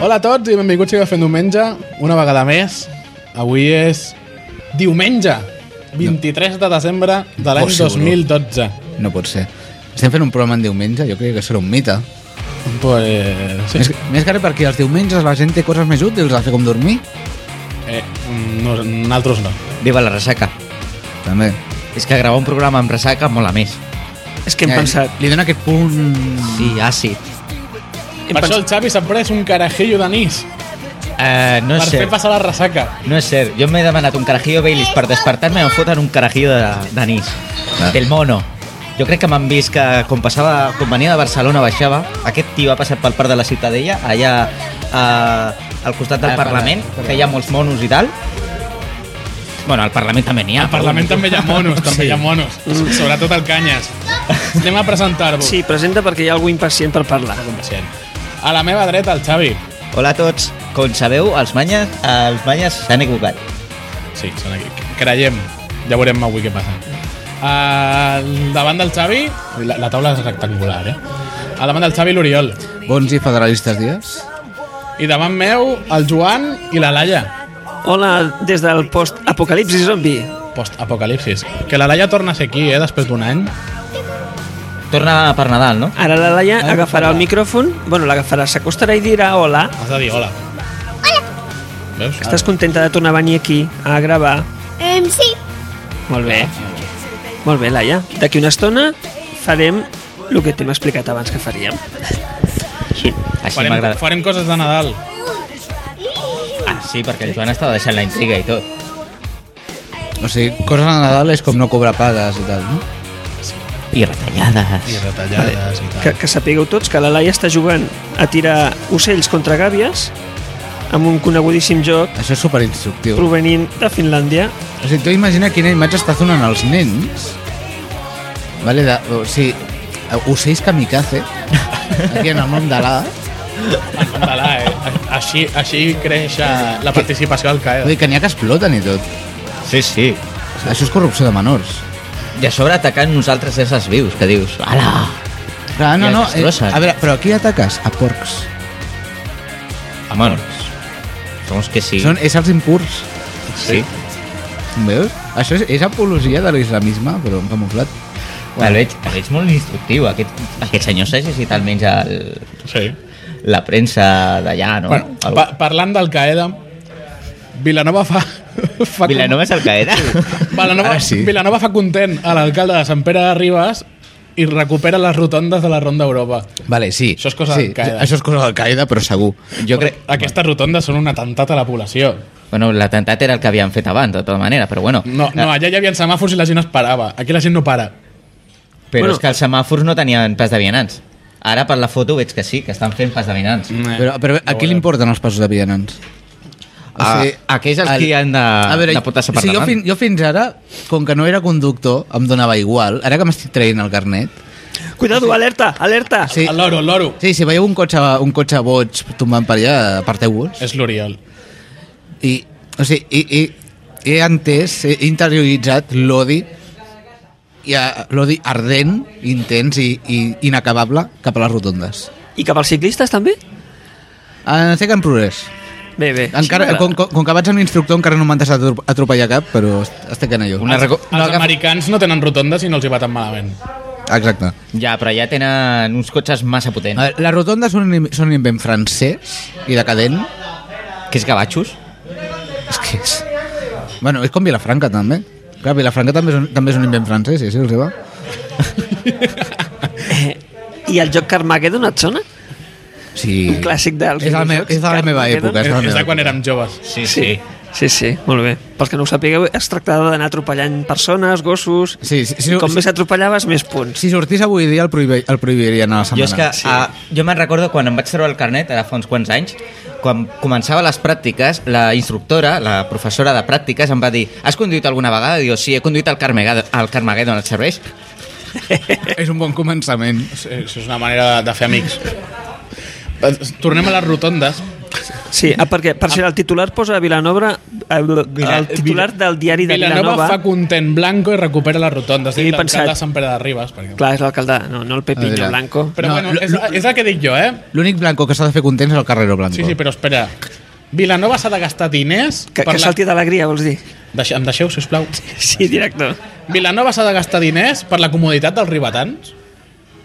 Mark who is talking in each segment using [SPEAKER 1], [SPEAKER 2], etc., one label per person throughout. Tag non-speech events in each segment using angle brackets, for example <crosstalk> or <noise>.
[SPEAKER 1] Hola a tots i benvinguts a Fent Diumenge, una vegada més. Avui és diumenge, 23 de desembre de l'any
[SPEAKER 2] Impossible.
[SPEAKER 1] 2012.
[SPEAKER 2] No pot ser. Estem fent un programa en diumenge, jo crec que serà un mite.
[SPEAKER 1] Pues...
[SPEAKER 2] Sí. Més,
[SPEAKER 1] Sí.
[SPEAKER 2] més que res perquè els diumenges la gent té coses més útils a fer com dormir.
[SPEAKER 1] Eh, mm, no, nosaltres no.
[SPEAKER 3] Viva la ressaca.
[SPEAKER 2] També.
[SPEAKER 3] És que gravar un programa amb ressaca mola més.
[SPEAKER 4] És que hem
[SPEAKER 2] Ja,
[SPEAKER 4] pensat...
[SPEAKER 2] Li dona aquest punt...
[SPEAKER 3] Sí, àcid.
[SPEAKER 4] Hem
[SPEAKER 1] Per això
[SPEAKER 4] pensat
[SPEAKER 1] el Xavi s'ha pres un carajillo d'anís
[SPEAKER 3] Uh, no
[SPEAKER 1] per
[SPEAKER 3] és
[SPEAKER 1] fer
[SPEAKER 3] cert.
[SPEAKER 1] passar la ressaca.
[SPEAKER 3] No és cert. Jo m'he demanat un carajillo Baileys per despertar-me i em foten un carajillo de- d'anís.
[SPEAKER 2] Ah.
[SPEAKER 3] Del mono. Jo crec que m'han vist que quan, passava, quan venia de Barcelona baixava, aquest tio ha passat pel parc de la Ciutadella, allà eh, al costat del
[SPEAKER 2] Ah,
[SPEAKER 3] Parlament,
[SPEAKER 2] parla- parla.
[SPEAKER 3] que hi ha molts monos i tal. Bueno, al Parlament també n'hi ha.
[SPEAKER 1] Al Parlament també hi ha monos, també hi ha monos. Sobretot al Canyes. Anem a presentar-vos.
[SPEAKER 4] Sí, presenta perquè hi ha algú impacient per parlar.
[SPEAKER 1] A la meva dreta, el Xavi.
[SPEAKER 3] Hola a tots. Com sabeu, els manyes eh, els manyes s'han equivocat.
[SPEAKER 1] Sí, són aquí. Creiem. Ja veurem avui què passa. Al davant del Xavi... La, la taula és rectangular, eh? Al davant del Xavi, l'Oriol.
[SPEAKER 2] Bons i federalistes dies.
[SPEAKER 1] I davant meu, el Joan i la Laia.
[SPEAKER 4] Hola, des del post-apocalipsi zombi.
[SPEAKER 1] Post-apocalipsis. Que la Laia torna a ser aquí, eh? Després d'un any.
[SPEAKER 3] Torna per Nadal, no?
[SPEAKER 4] Ara la Laia agafarà el micròfon, bueno, l'agafarà, s'acostarà i dirà hola.
[SPEAKER 1] Has de dir hola. Hola. Veus?
[SPEAKER 4] Estàs contenta de tornar a venir aquí a gravar?
[SPEAKER 5] Um, sí,
[SPEAKER 4] Molt bé. Molt bé, Laia. D'aquí una estona farem el que t'hem explicat abans que faríem.
[SPEAKER 3] Així
[SPEAKER 1] farem,
[SPEAKER 3] m'agrada.
[SPEAKER 1] farem coses de Nadal.
[SPEAKER 3] Ah, sí, perquè el Joan estava deixant la intriga i tot.
[SPEAKER 2] O sigui, coses a Nadal és com no cobrar pagues i tal, no?
[SPEAKER 3] I retallades.
[SPEAKER 1] I retallades i
[SPEAKER 4] Que,
[SPEAKER 1] tal.
[SPEAKER 4] que sapigueu tots que la Laia està jugant a tirar ocells contra gàbies amb un conegudíssim joc
[SPEAKER 2] Això és superinstructiu.
[SPEAKER 4] provenint de Finlàndia
[SPEAKER 2] O sigui, tu imagina quina imatge està donant als nens. Vale, de, o sigui, ocells kamikaze, aquí en el nom de l'A,
[SPEAKER 1] En nom de la, eh? Així, així creix eh, la participació al
[SPEAKER 2] vull
[SPEAKER 1] CAE.
[SPEAKER 2] dir que n'hi ha que exploten i tot.
[SPEAKER 3] Sí, sí.
[SPEAKER 2] Això és corrupció de menors.
[SPEAKER 3] I a sobre atacant nosaltres éssers vius, que dius, ala!
[SPEAKER 2] Clar, no,
[SPEAKER 3] I els
[SPEAKER 2] no, eh,
[SPEAKER 3] destrossen.
[SPEAKER 2] a veure, però aquí ataques? A porcs.
[SPEAKER 3] A menors. Segons doncs, que sí.
[SPEAKER 2] Són éssers impurs.
[SPEAKER 3] Sí.
[SPEAKER 2] Veus? Això és, és apologia de l'islamisme, però camuflat.
[SPEAKER 3] El veig, el veig molt instructiu. Aquest, aquest senyor s'ha llegit almenys el,
[SPEAKER 1] Sí.
[SPEAKER 3] la premsa d'allà, no?
[SPEAKER 1] Bueno,
[SPEAKER 3] Algú.
[SPEAKER 1] pa parlant del Caeda, Vilanova fa... fa
[SPEAKER 3] Vilanova és el Caeda.
[SPEAKER 1] Vilanova,
[SPEAKER 3] Ah,
[SPEAKER 2] Ara
[SPEAKER 1] sí.
[SPEAKER 2] sí.
[SPEAKER 1] Vilanova fa content a l'alcalde de Sant Pere de Ribes i recupera les rotondes de la Ronda Europa.
[SPEAKER 2] Vale, sí.
[SPEAKER 1] Això és cosa
[SPEAKER 2] sí,
[SPEAKER 1] del Qaeda.
[SPEAKER 2] Això és cosa del Qaeda, però segur.
[SPEAKER 3] Jo crec...
[SPEAKER 1] Aquestes rotondes són un atemptat a la població.
[SPEAKER 3] <laughs> Bueno, l'atemptat era el que havien fet abans, de tota manera, però bueno. Ah,
[SPEAKER 1] No, no, allà hi havia semàfors i la gent es parava. Aquí la gent no para.
[SPEAKER 3] Però
[SPEAKER 4] Bueno.
[SPEAKER 3] és que els semàfors no tenien pas de vianants. Ara per la foto veig que sí, que estan fent pas de vianants.
[SPEAKER 2] Però, però a qui li importen els passos de vianants?
[SPEAKER 3] A, aquells els
[SPEAKER 2] el-
[SPEAKER 3] que han de,
[SPEAKER 2] A veure,
[SPEAKER 3] de portar-se per
[SPEAKER 2] o sigui, jo,
[SPEAKER 3] davant.
[SPEAKER 2] fin, jo fins ara, com que no era conductor, em donava igual. Ara que m'estic traient el carnet...
[SPEAKER 4] Cuidado, alerta, alerta.
[SPEAKER 2] Sí,
[SPEAKER 1] El loro, el loro.
[SPEAKER 2] sí si veieu un cotxe, un cotxe boig tombant per allà, aparteu-vos.
[SPEAKER 1] És l'Oriol.
[SPEAKER 2] I, o sigui, i, i, he entès, he interioritzat l'odi i a- l'odi ardent, intens i, i inacabable cap a les rotondes.
[SPEAKER 4] I cap als ciclistes també?
[SPEAKER 2] Ah, sé que en progrés.
[SPEAKER 4] Bé, bé.
[SPEAKER 2] Encara,
[SPEAKER 4] així
[SPEAKER 2] com,
[SPEAKER 4] m'agrada.
[SPEAKER 2] com, com que vaig amb l'instructor encara no m'han deixat atro- atropellar cap, però est- estic en allò.
[SPEAKER 3] Una reco-
[SPEAKER 1] Els americans no tenen rotondes i no els hi va tan malament.
[SPEAKER 2] Exacte.
[SPEAKER 3] Ja, però ja tenen uns cotxes massa
[SPEAKER 2] A
[SPEAKER 3] potents.
[SPEAKER 2] veure, les rotondes són un, in- són un invent francès i decadent.
[SPEAKER 3] Que és gavatxos?
[SPEAKER 2] És que és... Bueno, és com Vilafranca, també. Clar, Vilafranca també és un, també és un invent francès, sí, sí, el seva.
[SPEAKER 4] Eh, I el joc Carmageddon et sona?
[SPEAKER 2] Sí.
[SPEAKER 4] Un clàssic dels
[SPEAKER 2] És, el me,
[SPEAKER 4] videojocs,
[SPEAKER 2] és de la meva
[SPEAKER 4] Carmageddon.
[SPEAKER 2] època.
[SPEAKER 1] És,
[SPEAKER 2] És de, la
[SPEAKER 1] és
[SPEAKER 2] meva
[SPEAKER 1] de quan
[SPEAKER 2] època.
[SPEAKER 1] érem joves.
[SPEAKER 3] Sí,
[SPEAKER 4] Sí, sí, molt bé. Pels que no ho sapigueu, es tractava d'anar atropellant persones, gossos...
[SPEAKER 2] Sí, sí, sí,
[SPEAKER 4] I com
[SPEAKER 2] sí.
[SPEAKER 4] més atropellaves, més punts.
[SPEAKER 2] Si sortís avui dia el, prohibi, el prohibirien a la
[SPEAKER 3] Jo
[SPEAKER 2] setmana.
[SPEAKER 3] és que sí. a, jo me'n recordo quan em vaig treure el carnet, ara fa uns quants anys, quan començava les pràctiques, la instructora, la professora de pràctiques, em va dir has conduït alguna vegada? Diu, sí, he conduït el, Carmega- el Carmageddon, et serveix?
[SPEAKER 2] <laughs> És un bon començament.
[SPEAKER 1] Sí, Això és una manera de, de fer amics. Eh, Tornem a les rotondes.
[SPEAKER 4] Sí, ah, perquè, per ser el titular posa Vilanova, eh, el, el titular del diari de
[SPEAKER 1] Vilanova,
[SPEAKER 4] Vilanova.
[SPEAKER 1] fa content blanco i recupera la rotonda.
[SPEAKER 4] He
[SPEAKER 1] Sí, l'alcalde
[SPEAKER 4] pensat-
[SPEAKER 1] de Sant Pere de Ribes, per exemple.
[SPEAKER 4] Clar, és l'alcalde, no, no el Pepiño
[SPEAKER 2] Adela.
[SPEAKER 4] Blanco.
[SPEAKER 1] Ah, Però
[SPEAKER 2] No,
[SPEAKER 1] bueno,
[SPEAKER 2] lo-
[SPEAKER 1] és, és el que dic jo, eh?
[SPEAKER 2] L'únic blanco que s'ha de fer content és el Carrero Blanco.
[SPEAKER 1] Sí, sí, però espera. Vilanova s'ha de gastar diners...
[SPEAKER 4] Que, que
[SPEAKER 1] la-
[SPEAKER 4] salti d'alegria, vols dir? <laughs>
[SPEAKER 1] Deixe, em deixeu, sisplau.
[SPEAKER 4] Sí, director.
[SPEAKER 1] Vilanova s'ha de gastar diners per la comoditat dels ribetans?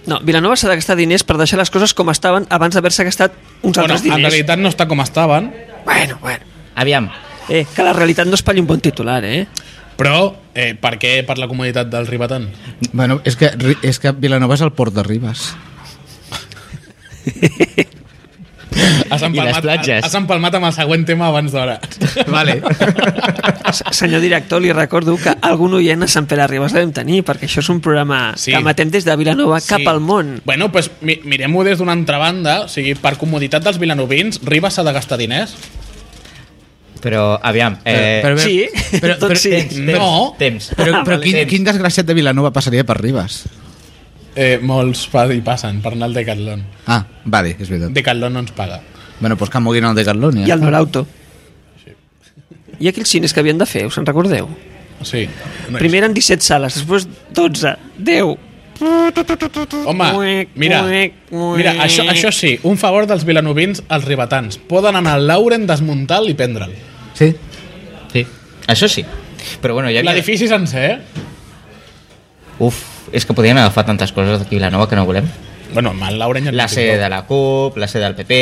[SPEAKER 4] No, Vilanova s'ha de gastar diners per deixar les coses com estaven abans d'haver-se gastat uns
[SPEAKER 1] Bueno,
[SPEAKER 4] altres
[SPEAKER 1] en
[SPEAKER 4] diners.
[SPEAKER 1] realitat no està com estaven,
[SPEAKER 4] Bueno, bueno.
[SPEAKER 3] Aviam,
[SPEAKER 4] Eh, que la realitat no espatlla un bon titular, eh?
[SPEAKER 1] però eh, per què per la comoditat dels <laughs> ribetans?
[SPEAKER 2] Bueno, és que, Ri- és que Vilanova és el port de Ribes.
[SPEAKER 1] Has
[SPEAKER 3] les platges.
[SPEAKER 1] Has empalmat amb el següent tema abans d'hora.
[SPEAKER 4] <laughs>
[SPEAKER 2] <laughs> Vale.
[SPEAKER 4] S- Senyor director, li recordo que algun oient a Sant Pere Ribes l'hem tenir, perquè això és un programa
[SPEAKER 1] Sí.
[SPEAKER 4] sí. que emetem des de Vilanova sí. cap al món.
[SPEAKER 1] Bueno, doncs pues, mi mirem-ho des d'una altra banda. O sigui, per comoditat dels vilanovins, Ribes s'ha de gastar diners?
[SPEAKER 3] però aviam... Eh,
[SPEAKER 2] Però-
[SPEAKER 4] Sí,
[SPEAKER 2] però-
[SPEAKER 4] tot
[SPEAKER 2] però-
[SPEAKER 4] sí.
[SPEAKER 3] Temps, temps,
[SPEAKER 1] No.
[SPEAKER 3] temps.
[SPEAKER 2] Però, però quin,
[SPEAKER 3] Temps.
[SPEAKER 2] quin desgraciat de Vilanova passaria per Ribes?
[SPEAKER 1] Eh, molts pa hi passen per anar al Decathlon.
[SPEAKER 2] Ah, vale, és veritat.
[SPEAKER 1] Decathlon no ens paga.
[SPEAKER 2] Bueno, doncs que moguin el de Carlònia.
[SPEAKER 4] I el Norauto. I aquells cines que havien de fer, us en recordeu?
[SPEAKER 1] Sí. No
[SPEAKER 4] Primer eren 17 sales, després 12, 10.
[SPEAKER 1] Home,
[SPEAKER 4] Uec,
[SPEAKER 1] mira,
[SPEAKER 4] uec, uec.
[SPEAKER 1] mira això, això sí, un favor dels vilanovins als ribetans. Poden anar al Lauren, desmuntar-lo i prendre'l.
[SPEAKER 2] Sí?
[SPEAKER 3] Sí, això sí. Però bueno, ja havia...
[SPEAKER 1] L'edifici sencer, eh?
[SPEAKER 3] Uf, és que podien agafar tantes coses d'aquí a Vilanova que no volem.
[SPEAKER 1] Bueno, amb el Lauren ja
[SPEAKER 3] La
[SPEAKER 1] en
[SPEAKER 3] C
[SPEAKER 1] tinc
[SPEAKER 3] de la CUP, la C del PP...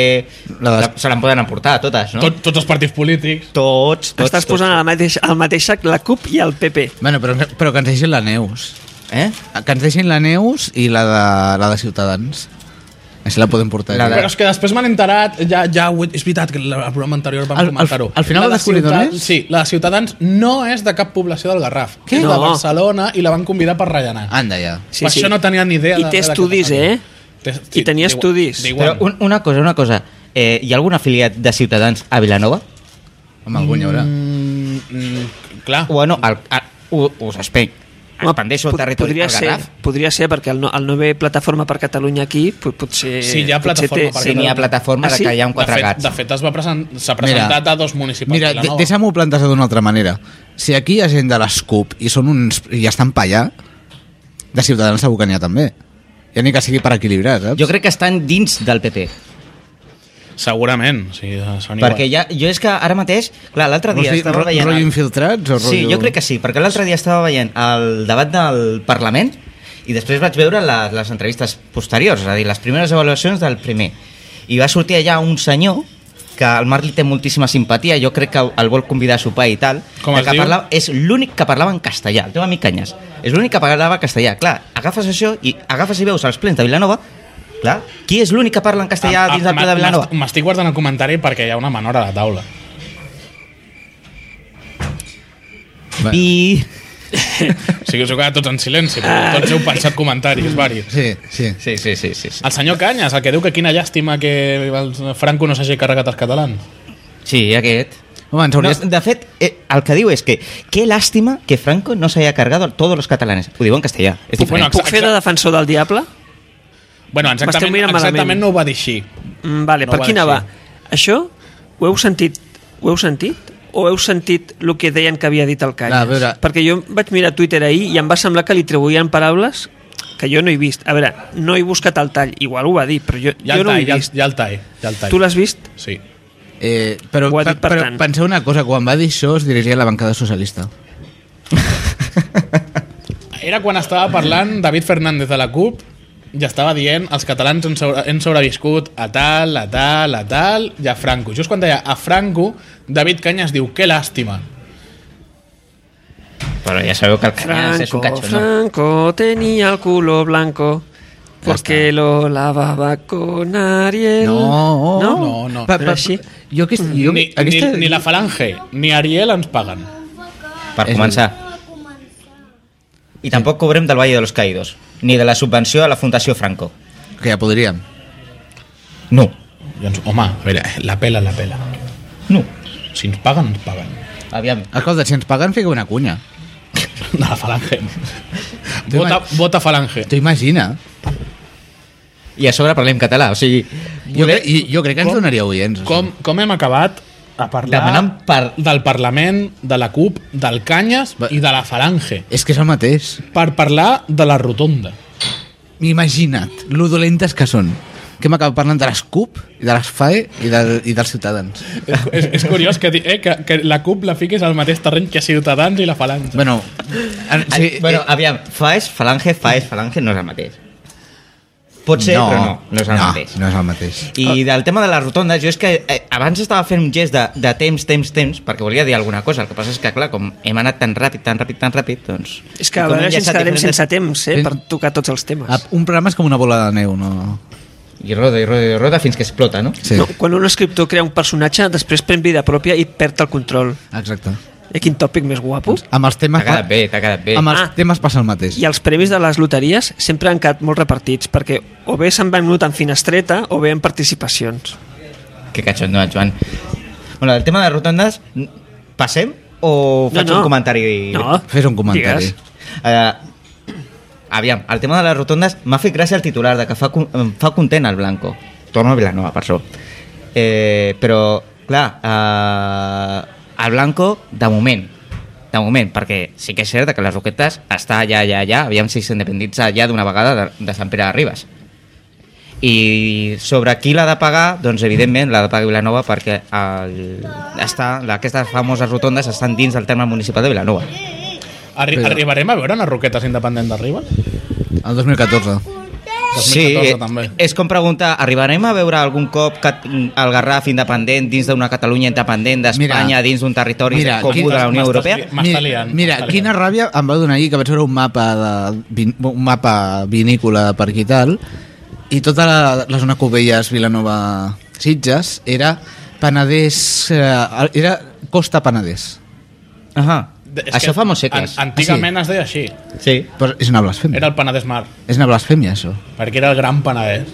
[SPEAKER 2] La
[SPEAKER 3] La
[SPEAKER 2] de-
[SPEAKER 3] Se l'en poden emportar, totes, no?
[SPEAKER 1] tot. Tot, tots els partits polítics.
[SPEAKER 3] Tots, tots.
[SPEAKER 4] Estàs
[SPEAKER 3] tots.
[SPEAKER 4] posant al mateix, al mateix sac la CUP i el PP.
[SPEAKER 2] Bueno, però, però que ens deixin la Neus.
[SPEAKER 3] Eh?
[SPEAKER 2] Que ens deixin la Neus i la de, la de Ciutadans. Així la podem portar.
[SPEAKER 3] La
[SPEAKER 2] aquí.
[SPEAKER 3] de-
[SPEAKER 1] Però és que després m'han enterat, ja, ja ho he, és veritat que la- el programa anterior vam
[SPEAKER 2] Al- al-
[SPEAKER 1] comentar-ho.
[SPEAKER 2] al final
[SPEAKER 1] La
[SPEAKER 2] ho
[SPEAKER 1] de
[SPEAKER 2] descobrirem,
[SPEAKER 1] Ciutat-
[SPEAKER 2] eh?
[SPEAKER 1] Sí, la de Ciutadans no és de cap població del Garraf.
[SPEAKER 4] Què?
[SPEAKER 1] És de
[SPEAKER 4] No.
[SPEAKER 1] Barcelona i la van convidar per rellenar.
[SPEAKER 3] Ah,
[SPEAKER 2] Anda ja.
[SPEAKER 1] sí, per això no tenia ni idea.
[SPEAKER 4] I té estudis, eh?
[SPEAKER 1] Té,
[SPEAKER 4] I tenia
[SPEAKER 1] d'igual-
[SPEAKER 4] estudis.
[SPEAKER 1] d'igual.
[SPEAKER 3] Però un, una cosa, una cosa. Eh, hi ha algun afiliat de Ciutadans a Vilanova?
[SPEAKER 2] Home, algun hi haurà.
[SPEAKER 1] Mm, mm, clar.
[SPEAKER 3] Bueno, al, al, u- us espec. Expandeixo el
[SPEAKER 4] pod-
[SPEAKER 3] territori
[SPEAKER 4] podria
[SPEAKER 3] del
[SPEAKER 4] ser,
[SPEAKER 3] Garraf.
[SPEAKER 4] podria ser, perquè el no, el no ve Plataforma per Catalunya aquí, pot, potser...
[SPEAKER 1] Sí, hi ha
[SPEAKER 4] potser
[SPEAKER 1] Plataforma per
[SPEAKER 3] Si n'hi ha plataforma
[SPEAKER 4] Ah,
[SPEAKER 3] de
[SPEAKER 4] sí?
[SPEAKER 3] que hi ha un
[SPEAKER 1] De
[SPEAKER 3] quatre
[SPEAKER 1] fet,
[SPEAKER 3] gats.
[SPEAKER 1] de fet, es va present, s'ha presentat
[SPEAKER 2] Mira,
[SPEAKER 1] a dos municipis.
[SPEAKER 2] Mira,
[SPEAKER 1] de
[SPEAKER 2] de-
[SPEAKER 1] Vilanova.
[SPEAKER 2] deixa'm-ho plantejar d'una altra manera. Si aquí hi ha gent de les CUP i, són uns, i estan pa allà, de Ciutadans segur que n'hi ha també. Ja ni que sigui per equilibrar, saps?
[SPEAKER 3] Jo crec que estan dins del PP.
[SPEAKER 1] Segurament, sí, són
[SPEAKER 3] Perquè
[SPEAKER 1] igual.
[SPEAKER 3] ja, jo és que ara mateix, clar, l'altre
[SPEAKER 2] Vols
[SPEAKER 3] dia
[SPEAKER 2] dir
[SPEAKER 3] estava
[SPEAKER 2] ro-
[SPEAKER 3] veient...
[SPEAKER 2] rotllo
[SPEAKER 3] el-
[SPEAKER 2] infiltrats o
[SPEAKER 3] Sí,
[SPEAKER 2] rotllo...
[SPEAKER 3] jo crec que sí, perquè l'altre dia estava veient el debat del Parlament i després vaig veure la, les entrevistes posteriors, és a dir, les primeres evaluacions del primer. I va sortir allà un senyor que al Marc li té moltíssima simpatia, jo crec que el vol convidar a sopar i tal.
[SPEAKER 1] Com
[SPEAKER 3] el
[SPEAKER 1] es
[SPEAKER 3] que
[SPEAKER 1] diu?
[SPEAKER 3] parlava, és l'únic que parlava en castellà, el teu amic Canyes. És l'únic que parlava en castellà. Clar, agafes això i agafes i veus els plens de Vilanova, clar, qui és l'únic que parla en
[SPEAKER 1] Ah,
[SPEAKER 3] castellà
[SPEAKER 1] ah,
[SPEAKER 3] dins del ple
[SPEAKER 1] m'ha-
[SPEAKER 3] de Vilanova?
[SPEAKER 1] m'est- M'estic guardant el comentari perquè hi ha una menor a la taula.
[SPEAKER 2] Bé,
[SPEAKER 3] I...
[SPEAKER 1] O sigui, us heu quedat tots en silenci, però tots heu pensat comentaris, varis.
[SPEAKER 2] Sí, sí.
[SPEAKER 3] Sí, sí, sí, sí. sí.
[SPEAKER 1] El senyor Canyes, el que diu que quina llàstima que el Franco no s'hagi carregat els catalans.
[SPEAKER 3] Sí, aquest.
[SPEAKER 2] Home, ens
[SPEAKER 3] No,
[SPEAKER 2] hauries...
[SPEAKER 3] de fet, eh, el que diu és que qué lástima que Franco no se haya cargado a todos los catalanes. Ho diu en castellà. És
[SPEAKER 1] Puc-
[SPEAKER 3] diferent.
[SPEAKER 1] bueno,
[SPEAKER 4] Puc fer de defensor del diable?
[SPEAKER 1] Bueno,
[SPEAKER 4] M'esteu
[SPEAKER 1] exactament,
[SPEAKER 4] mirant malament.
[SPEAKER 1] exactament no ho va dir així.
[SPEAKER 4] Mm, vale,
[SPEAKER 1] No
[SPEAKER 4] no per
[SPEAKER 1] va
[SPEAKER 4] quina va?
[SPEAKER 1] així.
[SPEAKER 4] Això ho heu sentit? Ho heu sentit? O heu sentit el que deien que havia dit el
[SPEAKER 2] Clar, a
[SPEAKER 4] Canyes?
[SPEAKER 2] veure.
[SPEAKER 4] Perquè jo vaig mirar Twitter ahir i em va semblar que li atribuïen paraules que jo no he vist. A veure, no he buscat el tall, igual ho va dir, però jo,
[SPEAKER 1] Ja
[SPEAKER 4] jo
[SPEAKER 1] el
[SPEAKER 4] no ho
[SPEAKER 1] tall,
[SPEAKER 4] he
[SPEAKER 1] ja,
[SPEAKER 4] vist.
[SPEAKER 1] ja el tall, ja el tall.
[SPEAKER 4] Tu l'has vist?
[SPEAKER 1] Sí.
[SPEAKER 2] Eh, però,
[SPEAKER 4] Ho ha dit
[SPEAKER 2] pe-
[SPEAKER 4] per
[SPEAKER 2] però
[SPEAKER 4] tant.
[SPEAKER 2] penseu una cosa, quan va dir això es dirigia a la bancada socialista.
[SPEAKER 1] Era quan estava parlant David Fernández de la CUP i estava dient els catalans han, sobre, han sobreviscut a tal, a tal, a tal i a Franco. Just quan deia a Franco, David Canyes diu que làstima.
[SPEAKER 3] Però ja sabeu que el Canyes és
[SPEAKER 4] Franco,
[SPEAKER 3] un catxo, no?
[SPEAKER 4] Franco tenía el culo blanco porque lo lavaba con Ariel.
[SPEAKER 2] No,
[SPEAKER 4] no,
[SPEAKER 1] no, no.
[SPEAKER 2] Pa-
[SPEAKER 4] Però
[SPEAKER 2] pa-
[SPEAKER 4] així- Mm.
[SPEAKER 2] Jo, aquest, jo,
[SPEAKER 1] Ni,
[SPEAKER 2] aquesta,
[SPEAKER 1] ni, ni la Falange ni Ariel ens paguen.
[SPEAKER 3] Per
[SPEAKER 2] És
[SPEAKER 3] començar. I tampoc cobrem del Valle de los Caídos, ni de la subvenció a la Fundació Franco.
[SPEAKER 2] Que ja podríem.
[SPEAKER 3] No,
[SPEAKER 1] I ens, home, a veure, la pela, la pela.
[SPEAKER 3] no.
[SPEAKER 1] Si ens paguen, ens paguen. <laughs>
[SPEAKER 3] Aviam.
[SPEAKER 2] Escolta, si ens paguen, fica una cunya.
[SPEAKER 1] De la Falange. Vota, vota Falange.
[SPEAKER 2] T'ho imagina?
[SPEAKER 3] I a sobre parlem català, o sigui,
[SPEAKER 2] Jo, crec, i- jo crec que ens
[SPEAKER 1] Com-
[SPEAKER 2] donaria oients.
[SPEAKER 1] Com, com hem acabat a parlar
[SPEAKER 3] Demanant par-
[SPEAKER 1] del Parlament, de la CUP, del Canyes
[SPEAKER 2] Va-
[SPEAKER 1] i de la Falange
[SPEAKER 2] És que és el mateix.
[SPEAKER 1] per parlar de la rotonda.
[SPEAKER 2] Imagina't, lo dolentes que són. Que hem acabat parlant de les CUP, i de les FAE i, del, i dels ciutadans.
[SPEAKER 1] és, és, és curiós que, di- eh, que, que la CUP la fiquis al mateix terreny que Ciutadans i la Falange.
[SPEAKER 2] Bueno, en, sí,
[SPEAKER 3] Sí, bueno,
[SPEAKER 2] eh,
[SPEAKER 3] aviam, faes, falange, faes, falange no és el mateix. Pot ser, però no, no és el mateix.
[SPEAKER 2] No és el mateix.
[SPEAKER 3] I
[SPEAKER 4] Ah.
[SPEAKER 3] del tema de la rotonda, jo és que eh, abans estava fent un gest de, de temps, temps, temps, perquè volia dir alguna cosa, el que passa és que, clar, com hem anat tan ràpid, tan ràpid, tan ràpid, doncs...
[SPEAKER 4] És que a
[SPEAKER 3] com hem
[SPEAKER 4] vegades ens
[SPEAKER 3] llançat
[SPEAKER 4] quedarem
[SPEAKER 3] diferents-
[SPEAKER 4] sense temps eh,
[SPEAKER 2] Sí.
[SPEAKER 4] per tocar tots els temes.
[SPEAKER 2] Ah, Un programa és com una bola de neu, no?
[SPEAKER 3] I roda, i roda, i roda, fins que explota, no?
[SPEAKER 2] Sí,
[SPEAKER 4] No, quan un escriptor crea un personatge, després pren vida pròpia i perd el control.
[SPEAKER 2] exacte.
[SPEAKER 4] Eh, quin tòpic més guapo.
[SPEAKER 2] Amb els
[SPEAKER 3] Uh. T'ha
[SPEAKER 2] temes... pa-
[SPEAKER 3] quedat bé, t'ha quedat bé.
[SPEAKER 2] Amb els
[SPEAKER 4] Ah.
[SPEAKER 2] temes passa el mateix.
[SPEAKER 4] I els premis de les loteries sempre han quedat molt repartits, perquè o bé se'n van notar en finestreta o bé en participacions.
[SPEAKER 3] Que cachondo, Joan. Bueno, del tema de rotondes, n- passem o faig un comentari?
[SPEAKER 4] No.
[SPEAKER 2] Fes un comentari.
[SPEAKER 4] Digues.
[SPEAKER 3] Eh, aviam, el tema de les rotondes m'ha fet gràcia el titular de que fa, con- em fa content el Blanco. Torno a Vilanova, per això. Eh, però, clar, eh, el Blanco, de moment, de moment, perquè sí que és cert que les Roquetes està allà, allà, allà, aviam si s'independitza ja d'una vegada de, de Sant Pere de Ribes. I sobre qui l'ha de pagar, doncs evidentment l'ha de pagar Vilanova perquè el, està, aquestes famoses rotondes estan dins del terme municipal de Vilanova.
[SPEAKER 1] Arri
[SPEAKER 2] Però-
[SPEAKER 1] Arribarem a veure una roqueta independent d'arriba?
[SPEAKER 2] El 2014.
[SPEAKER 3] Sí,
[SPEAKER 1] 2014
[SPEAKER 3] eh,
[SPEAKER 1] també.
[SPEAKER 3] és com preguntar, arribarem a veure algun cop cat- el Garraf independent dins d'una Catalunya independent
[SPEAKER 2] Mira.
[SPEAKER 3] d'Espanya, dins d'un territori
[SPEAKER 2] Mira,
[SPEAKER 3] comú
[SPEAKER 2] quin-
[SPEAKER 3] de la Unió
[SPEAKER 1] m'estàs
[SPEAKER 3] Europea?
[SPEAKER 1] li- M'està liant.
[SPEAKER 2] Mira,
[SPEAKER 1] m'està liant.
[SPEAKER 2] quina ràbia em va donar ahir que vaig veure un mapa, de, vin- un mapa vinícola per aquí i tal i tota la, la zona Covelles, Vilanova, Sitges era Penedès, eh, era Costa Penedès.
[SPEAKER 3] Ahà.
[SPEAKER 1] De- és
[SPEAKER 3] eh, Això
[SPEAKER 1] que
[SPEAKER 3] fa molts segles. Ah, Mm.
[SPEAKER 1] an- Antigament es deia així.
[SPEAKER 3] Sí.
[SPEAKER 2] Però és una blasfèmia.
[SPEAKER 1] Era el Penedès Mar,
[SPEAKER 2] És una blasfèmia, això.
[SPEAKER 1] perquè era el gran Penedès.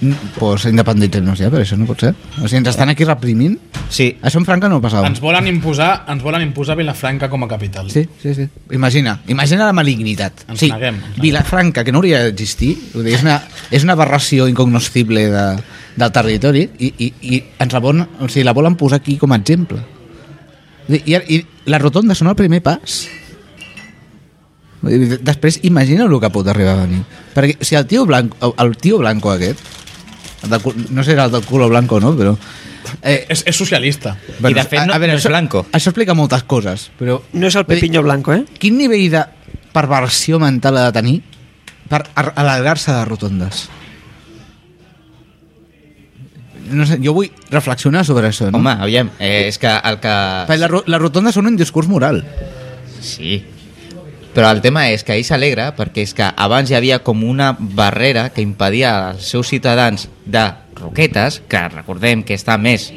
[SPEAKER 2] Doncs pues, independitzem-nos ja, però això no pot ser. O sigui, ens estan aquí reprimint.
[SPEAKER 3] sí.
[SPEAKER 2] Això en Franca no
[SPEAKER 3] Ah.
[SPEAKER 2] passava.
[SPEAKER 1] Ens volen imposar, ens volen imposar Vilafranca com a capital.
[SPEAKER 2] Sí, sí, sí. Imagina, imagina la malignitat.
[SPEAKER 1] Ens
[SPEAKER 2] sí,
[SPEAKER 1] neguem, ens neguem.
[SPEAKER 2] Vilafranca, que no hauria d'existir, vull dir, és una, és una aberració incognoscible de, del territori i, i, i ens la, volen, o sigui, la volen posar aquí com a exemple. Vull dir, I, i les rotondes són el primer pas. Vull dir, Després imagina el que pot arribar a venir. Perquè si el tio blanco, el tio blanco aquest, el de, cul- no sé si era el del culo blanco o no, però... Eh,
[SPEAKER 1] És, és socialista.
[SPEAKER 3] I de fet no- no és
[SPEAKER 2] això,
[SPEAKER 3] blanco.
[SPEAKER 2] Això explica moltes coses, però...
[SPEAKER 4] No és el
[SPEAKER 2] Vull dir,
[SPEAKER 4] Pepiño Blanco, eh?
[SPEAKER 2] Quin nivell de perversió mental ha de tenir per ar- alegrar-se de rotondes? No sé, jo vull reflexionar sobre això, no?
[SPEAKER 3] Home, aviam, eh, és que el que...
[SPEAKER 2] Perquè la, ro- les rotondes són un discurs moral.
[SPEAKER 3] Sí. Però el tema és que ell s'alegra perquè és que abans hi havia com una barrera que impedia als seus ciutadans de Roquetes, que recordem que està més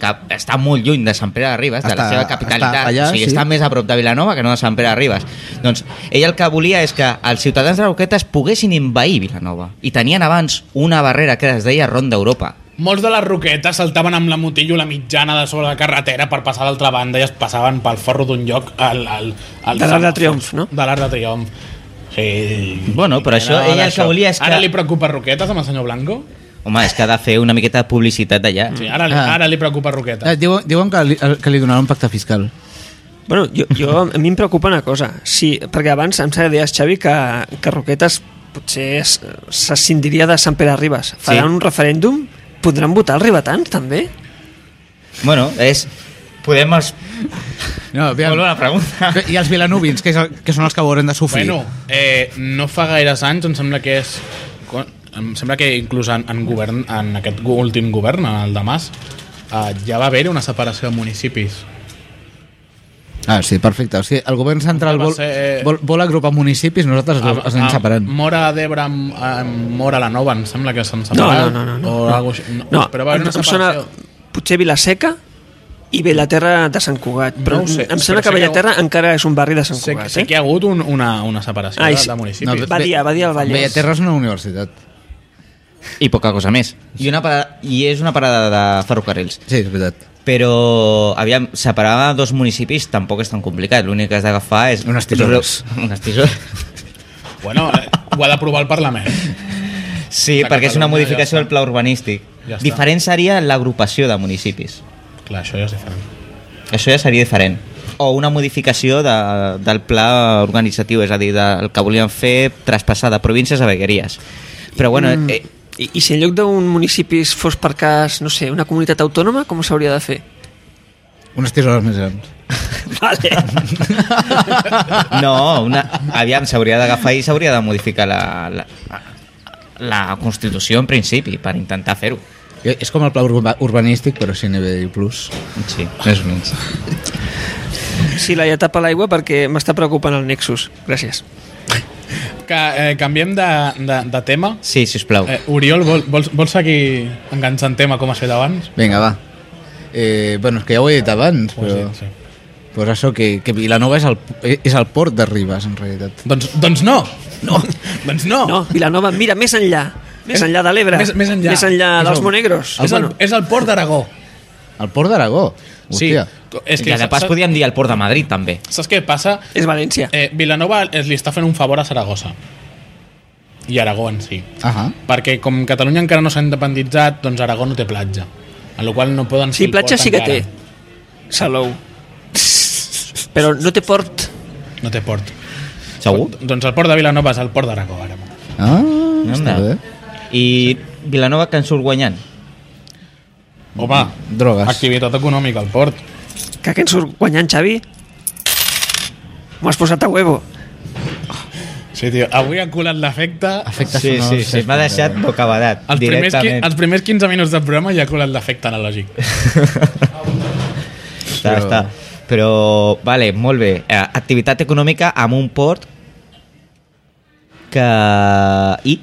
[SPEAKER 3] que està molt lluny de Sant Pere de Ribes, de la
[SPEAKER 2] Està-
[SPEAKER 3] seva capitalitat,
[SPEAKER 2] està allà,
[SPEAKER 3] o sigui,
[SPEAKER 2] sí.
[SPEAKER 3] està més a prop de Vilanova que no de Sant Pere de Ribes. Doncs ell el que volia és que els ciutadans de Roquetes poguessin envair Vilanova. I tenien abans una barrera que es deia Ronda Europa.
[SPEAKER 1] Molts de les roquetes saltaven amb la motillo la mitjana de sobre la carretera per passar a l'altra banda i es passaven pel forro d'un lloc al... al, al
[SPEAKER 4] De l'Arc de Triomf, no?
[SPEAKER 1] De l'Arc de Triomf. Sí.
[SPEAKER 3] Bueno, però això,
[SPEAKER 1] Era
[SPEAKER 3] ell el
[SPEAKER 1] d'això.
[SPEAKER 3] que volia és que-
[SPEAKER 1] Ara li preocupa roquetes amb el senyor Blanco?
[SPEAKER 3] Home, és que ha de fer una miqueta de publicitat d'allà.
[SPEAKER 1] Sí, ara, li,
[SPEAKER 2] Ah.
[SPEAKER 1] ara li preocupa roquetes.
[SPEAKER 2] Eh, diuen, diuen que li, el- que li donaran un pacte fiscal.
[SPEAKER 4] Bueno, jo, jo, a mi em preocupa una cosa. Sí, perquè abans em sembla que deies, Xavi, que, que Roquetes potser es- s'escindiria de Sant Pere Ribes. Faran
[SPEAKER 3] Sí.
[SPEAKER 4] un referèndum? Podran votar els ribetans, també?
[SPEAKER 3] Bueno, és... Podem... Els...
[SPEAKER 2] No,
[SPEAKER 3] Molt bona <laughs> pregunta.
[SPEAKER 2] I els vilanubins, que, és el, que són els que hauran de sofrir.
[SPEAKER 1] Bueno, eh, no fa gaires anys, em sembla que és... quan- Em sembla que inclús en, en, govern, en aquest go- últim govern, en el de Mas, eh, ja va haver una separació de municipis.
[SPEAKER 2] Ah, sí, perfecte. O sigui, el govern central
[SPEAKER 1] Va
[SPEAKER 2] vol,
[SPEAKER 1] ser- eh,
[SPEAKER 2] vol, vol agrupar municipis, nosaltres
[SPEAKER 4] Ah,
[SPEAKER 1] Am-
[SPEAKER 2] els anem
[SPEAKER 1] am-
[SPEAKER 2] separant.
[SPEAKER 1] ah, Mora d'Ebre amb, amb Mora la Nova, em sembla que s'han
[SPEAKER 4] No,
[SPEAKER 1] separat.
[SPEAKER 4] no, no, no. no.
[SPEAKER 1] O algo així. No,
[SPEAKER 4] No,
[SPEAKER 1] però va haver una
[SPEAKER 4] em sona
[SPEAKER 1] separació.
[SPEAKER 4] potser Vilaseca i Bellaterra de Sant Cugat. Però
[SPEAKER 1] No ho sé,
[SPEAKER 4] em sembla
[SPEAKER 1] però sé
[SPEAKER 4] que
[SPEAKER 1] que-
[SPEAKER 4] Bellaterra encara és un barri de Sant
[SPEAKER 1] Sé, que-
[SPEAKER 4] Cugat.
[SPEAKER 1] sé
[SPEAKER 4] eh?
[SPEAKER 1] que hi ha hagut un, una, una separació
[SPEAKER 4] Ai,
[SPEAKER 1] de,
[SPEAKER 4] sí.
[SPEAKER 1] de municipis.
[SPEAKER 4] va dir- va dir al Vallès.
[SPEAKER 2] Bellaterra és una universitat.
[SPEAKER 3] i poca cosa més. I, una parada, i és una parada de ferrocarrils.
[SPEAKER 2] Sí, és veritat.
[SPEAKER 3] Però, aviam, separar dos municipis tampoc és tan complicat. L'únic que has d'agafar és...
[SPEAKER 2] Unes tisores.
[SPEAKER 3] Unes tisores.
[SPEAKER 1] Bueno, eh, ho ha d'aprovar el Parlament.
[SPEAKER 3] Sí,
[SPEAKER 1] A
[SPEAKER 3] perquè és una
[SPEAKER 1] Catalunya ja
[SPEAKER 3] modificació del pla urbanístic.
[SPEAKER 1] Ja està.
[SPEAKER 3] diferent seria l'agrupació de municipis.
[SPEAKER 1] està. Clar, això ja és diferent.
[SPEAKER 3] Això ja seria diferent. O una modificació de, del pla organitzatiu, és a dir, del que volien fer traspassar de províncies a vegueries. Però bueno, mm. eh,
[SPEAKER 4] I, I si en lloc d'un municipi es fos per cas, no sé, una comunitat autònoma, com s'hauria
[SPEAKER 1] <laughs>
[SPEAKER 4] de fer?
[SPEAKER 2] Unes 3 hores més grans.
[SPEAKER 4] Vale.
[SPEAKER 3] no, una, aviam, s'hauria d'agafar i s'hauria de modificar la, la, la Constitució en principi per intentar fer-ho.
[SPEAKER 2] I- És com el pla urba- urbanístic, però sí a nivell plus.
[SPEAKER 3] Sí.
[SPEAKER 2] Més o menys.
[SPEAKER 4] Sí, la ja tapa l'aigua perquè m'està preocupant el Nexus. Gràcies.
[SPEAKER 1] Que eh, canviem de, de, de tema.
[SPEAKER 3] sí, sisplau.
[SPEAKER 1] Eh, Oriol, vol, vols, vols seguir enganxant tema com has fet abans?
[SPEAKER 2] Vinga, va. Eh, bueno, és que ja ho he dit abans,
[SPEAKER 1] Pues
[SPEAKER 2] però...
[SPEAKER 1] sí, sí.
[SPEAKER 2] Pues això, que, que Vilanova és el, és el port de Ribes, en realitat.
[SPEAKER 1] Doncs, doncs no! No! <laughs> doncs no!
[SPEAKER 4] No, Vilanova, mira, més enllà. Més
[SPEAKER 1] És-
[SPEAKER 4] enllà de l'Ebre.
[SPEAKER 1] més- més enllà.
[SPEAKER 4] Més enllà
[SPEAKER 2] És
[SPEAKER 4] dels
[SPEAKER 2] el-
[SPEAKER 4] Monegros.
[SPEAKER 1] És, el,
[SPEAKER 4] Bueno,
[SPEAKER 1] és el port d'Aragó.
[SPEAKER 2] El port d'Aragó.
[SPEAKER 1] Sí.
[SPEAKER 2] Hòstia.
[SPEAKER 1] És
[SPEAKER 3] I a de
[SPEAKER 1] saps-
[SPEAKER 3] pas podíem dir el Port de Madrid, també.
[SPEAKER 1] Saps què passa?
[SPEAKER 4] és València.
[SPEAKER 1] Eh, Vilanova es- li està fent un favor a Saragossa. I Aragó en si.
[SPEAKER 2] Ahà.
[SPEAKER 1] Perquè com Catalunya encara no s'ha independitzat, doncs Aragó no té platja. En la qual cosa no poden fer
[SPEAKER 4] Sí,
[SPEAKER 1] el
[SPEAKER 4] platja
[SPEAKER 1] port
[SPEAKER 4] sí que té.
[SPEAKER 1] encara.
[SPEAKER 4] Salou. Però no té port.
[SPEAKER 1] No té port.
[SPEAKER 3] Segur?
[SPEAKER 1] Doncs el port de Vilanova és el port d'Aragó, ara.
[SPEAKER 2] Ah, està
[SPEAKER 3] Anda.
[SPEAKER 2] bé.
[SPEAKER 3] I Vilanova que en surt guanyant.
[SPEAKER 1] Home,
[SPEAKER 2] Drogues.
[SPEAKER 1] activitat econòmica al port.
[SPEAKER 4] Que aquest surt guanyant, Xavi. M'ho has posat a huevo.
[SPEAKER 1] Sí, tio, avui ha colat l'efecte.
[SPEAKER 2] Efectes
[SPEAKER 3] sí,
[SPEAKER 2] sonors,
[SPEAKER 3] sí, sí,
[SPEAKER 2] és
[SPEAKER 3] m'ha
[SPEAKER 2] com-
[SPEAKER 3] deixat bocabadat,
[SPEAKER 1] Els primers, qui,
[SPEAKER 3] directament.
[SPEAKER 1] els primers 15 minuts del programa ja ha colat l'efecte analògic.
[SPEAKER 3] Està,
[SPEAKER 2] Però-
[SPEAKER 3] està. Però, vale, molt bé. Eh, Activitat econòmica amb un port que... I?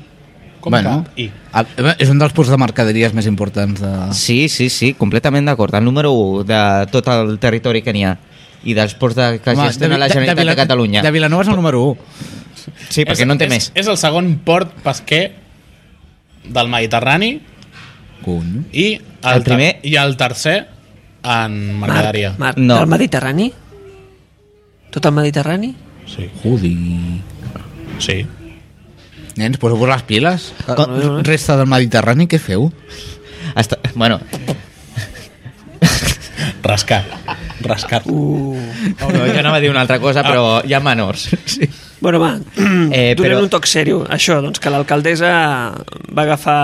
[SPEAKER 1] Com
[SPEAKER 2] bueno,
[SPEAKER 1] cap i.
[SPEAKER 2] a- a- és un dels ports de mercaderies més importants de...
[SPEAKER 3] Sí, sí, sí, completament d'acord. El número 1 de tot el territori que n'hi ha i dels ports de, que
[SPEAKER 2] Home,
[SPEAKER 3] gestiona
[SPEAKER 2] de-
[SPEAKER 3] la
[SPEAKER 2] de- de
[SPEAKER 3] Generalitat de,
[SPEAKER 2] Vila-
[SPEAKER 3] Catalunya.
[SPEAKER 2] De Vilanova és el número 1.
[SPEAKER 3] sí, perquè
[SPEAKER 1] és,
[SPEAKER 3] no en té
[SPEAKER 1] és,
[SPEAKER 3] més.
[SPEAKER 1] És el segon port pesquer del Mediterrani
[SPEAKER 2] Cony.
[SPEAKER 1] i el,
[SPEAKER 3] El primer-
[SPEAKER 1] ter- i el tercer en mercaderia.
[SPEAKER 4] Mar,
[SPEAKER 3] No.
[SPEAKER 4] no. El Mediterrani? Tot el Mediterrani?
[SPEAKER 1] Sí,
[SPEAKER 2] Judi.
[SPEAKER 1] sí.
[SPEAKER 2] Nens, poseu-vos les piles.
[SPEAKER 4] Com-
[SPEAKER 2] Resta del Mediterrani, què feu?
[SPEAKER 3] Està, bueno,
[SPEAKER 1] Rascar. Rascar.
[SPEAKER 4] Uh.
[SPEAKER 3] no, jo anava a dir una altra cosa, però hi ha menors. Sí.
[SPEAKER 4] Bueno, va, <clears throat> eh,
[SPEAKER 3] Eh,
[SPEAKER 4] donem
[SPEAKER 3] però-
[SPEAKER 4] un toc sèrio. Això, doncs, que l'alcaldessa va agafar...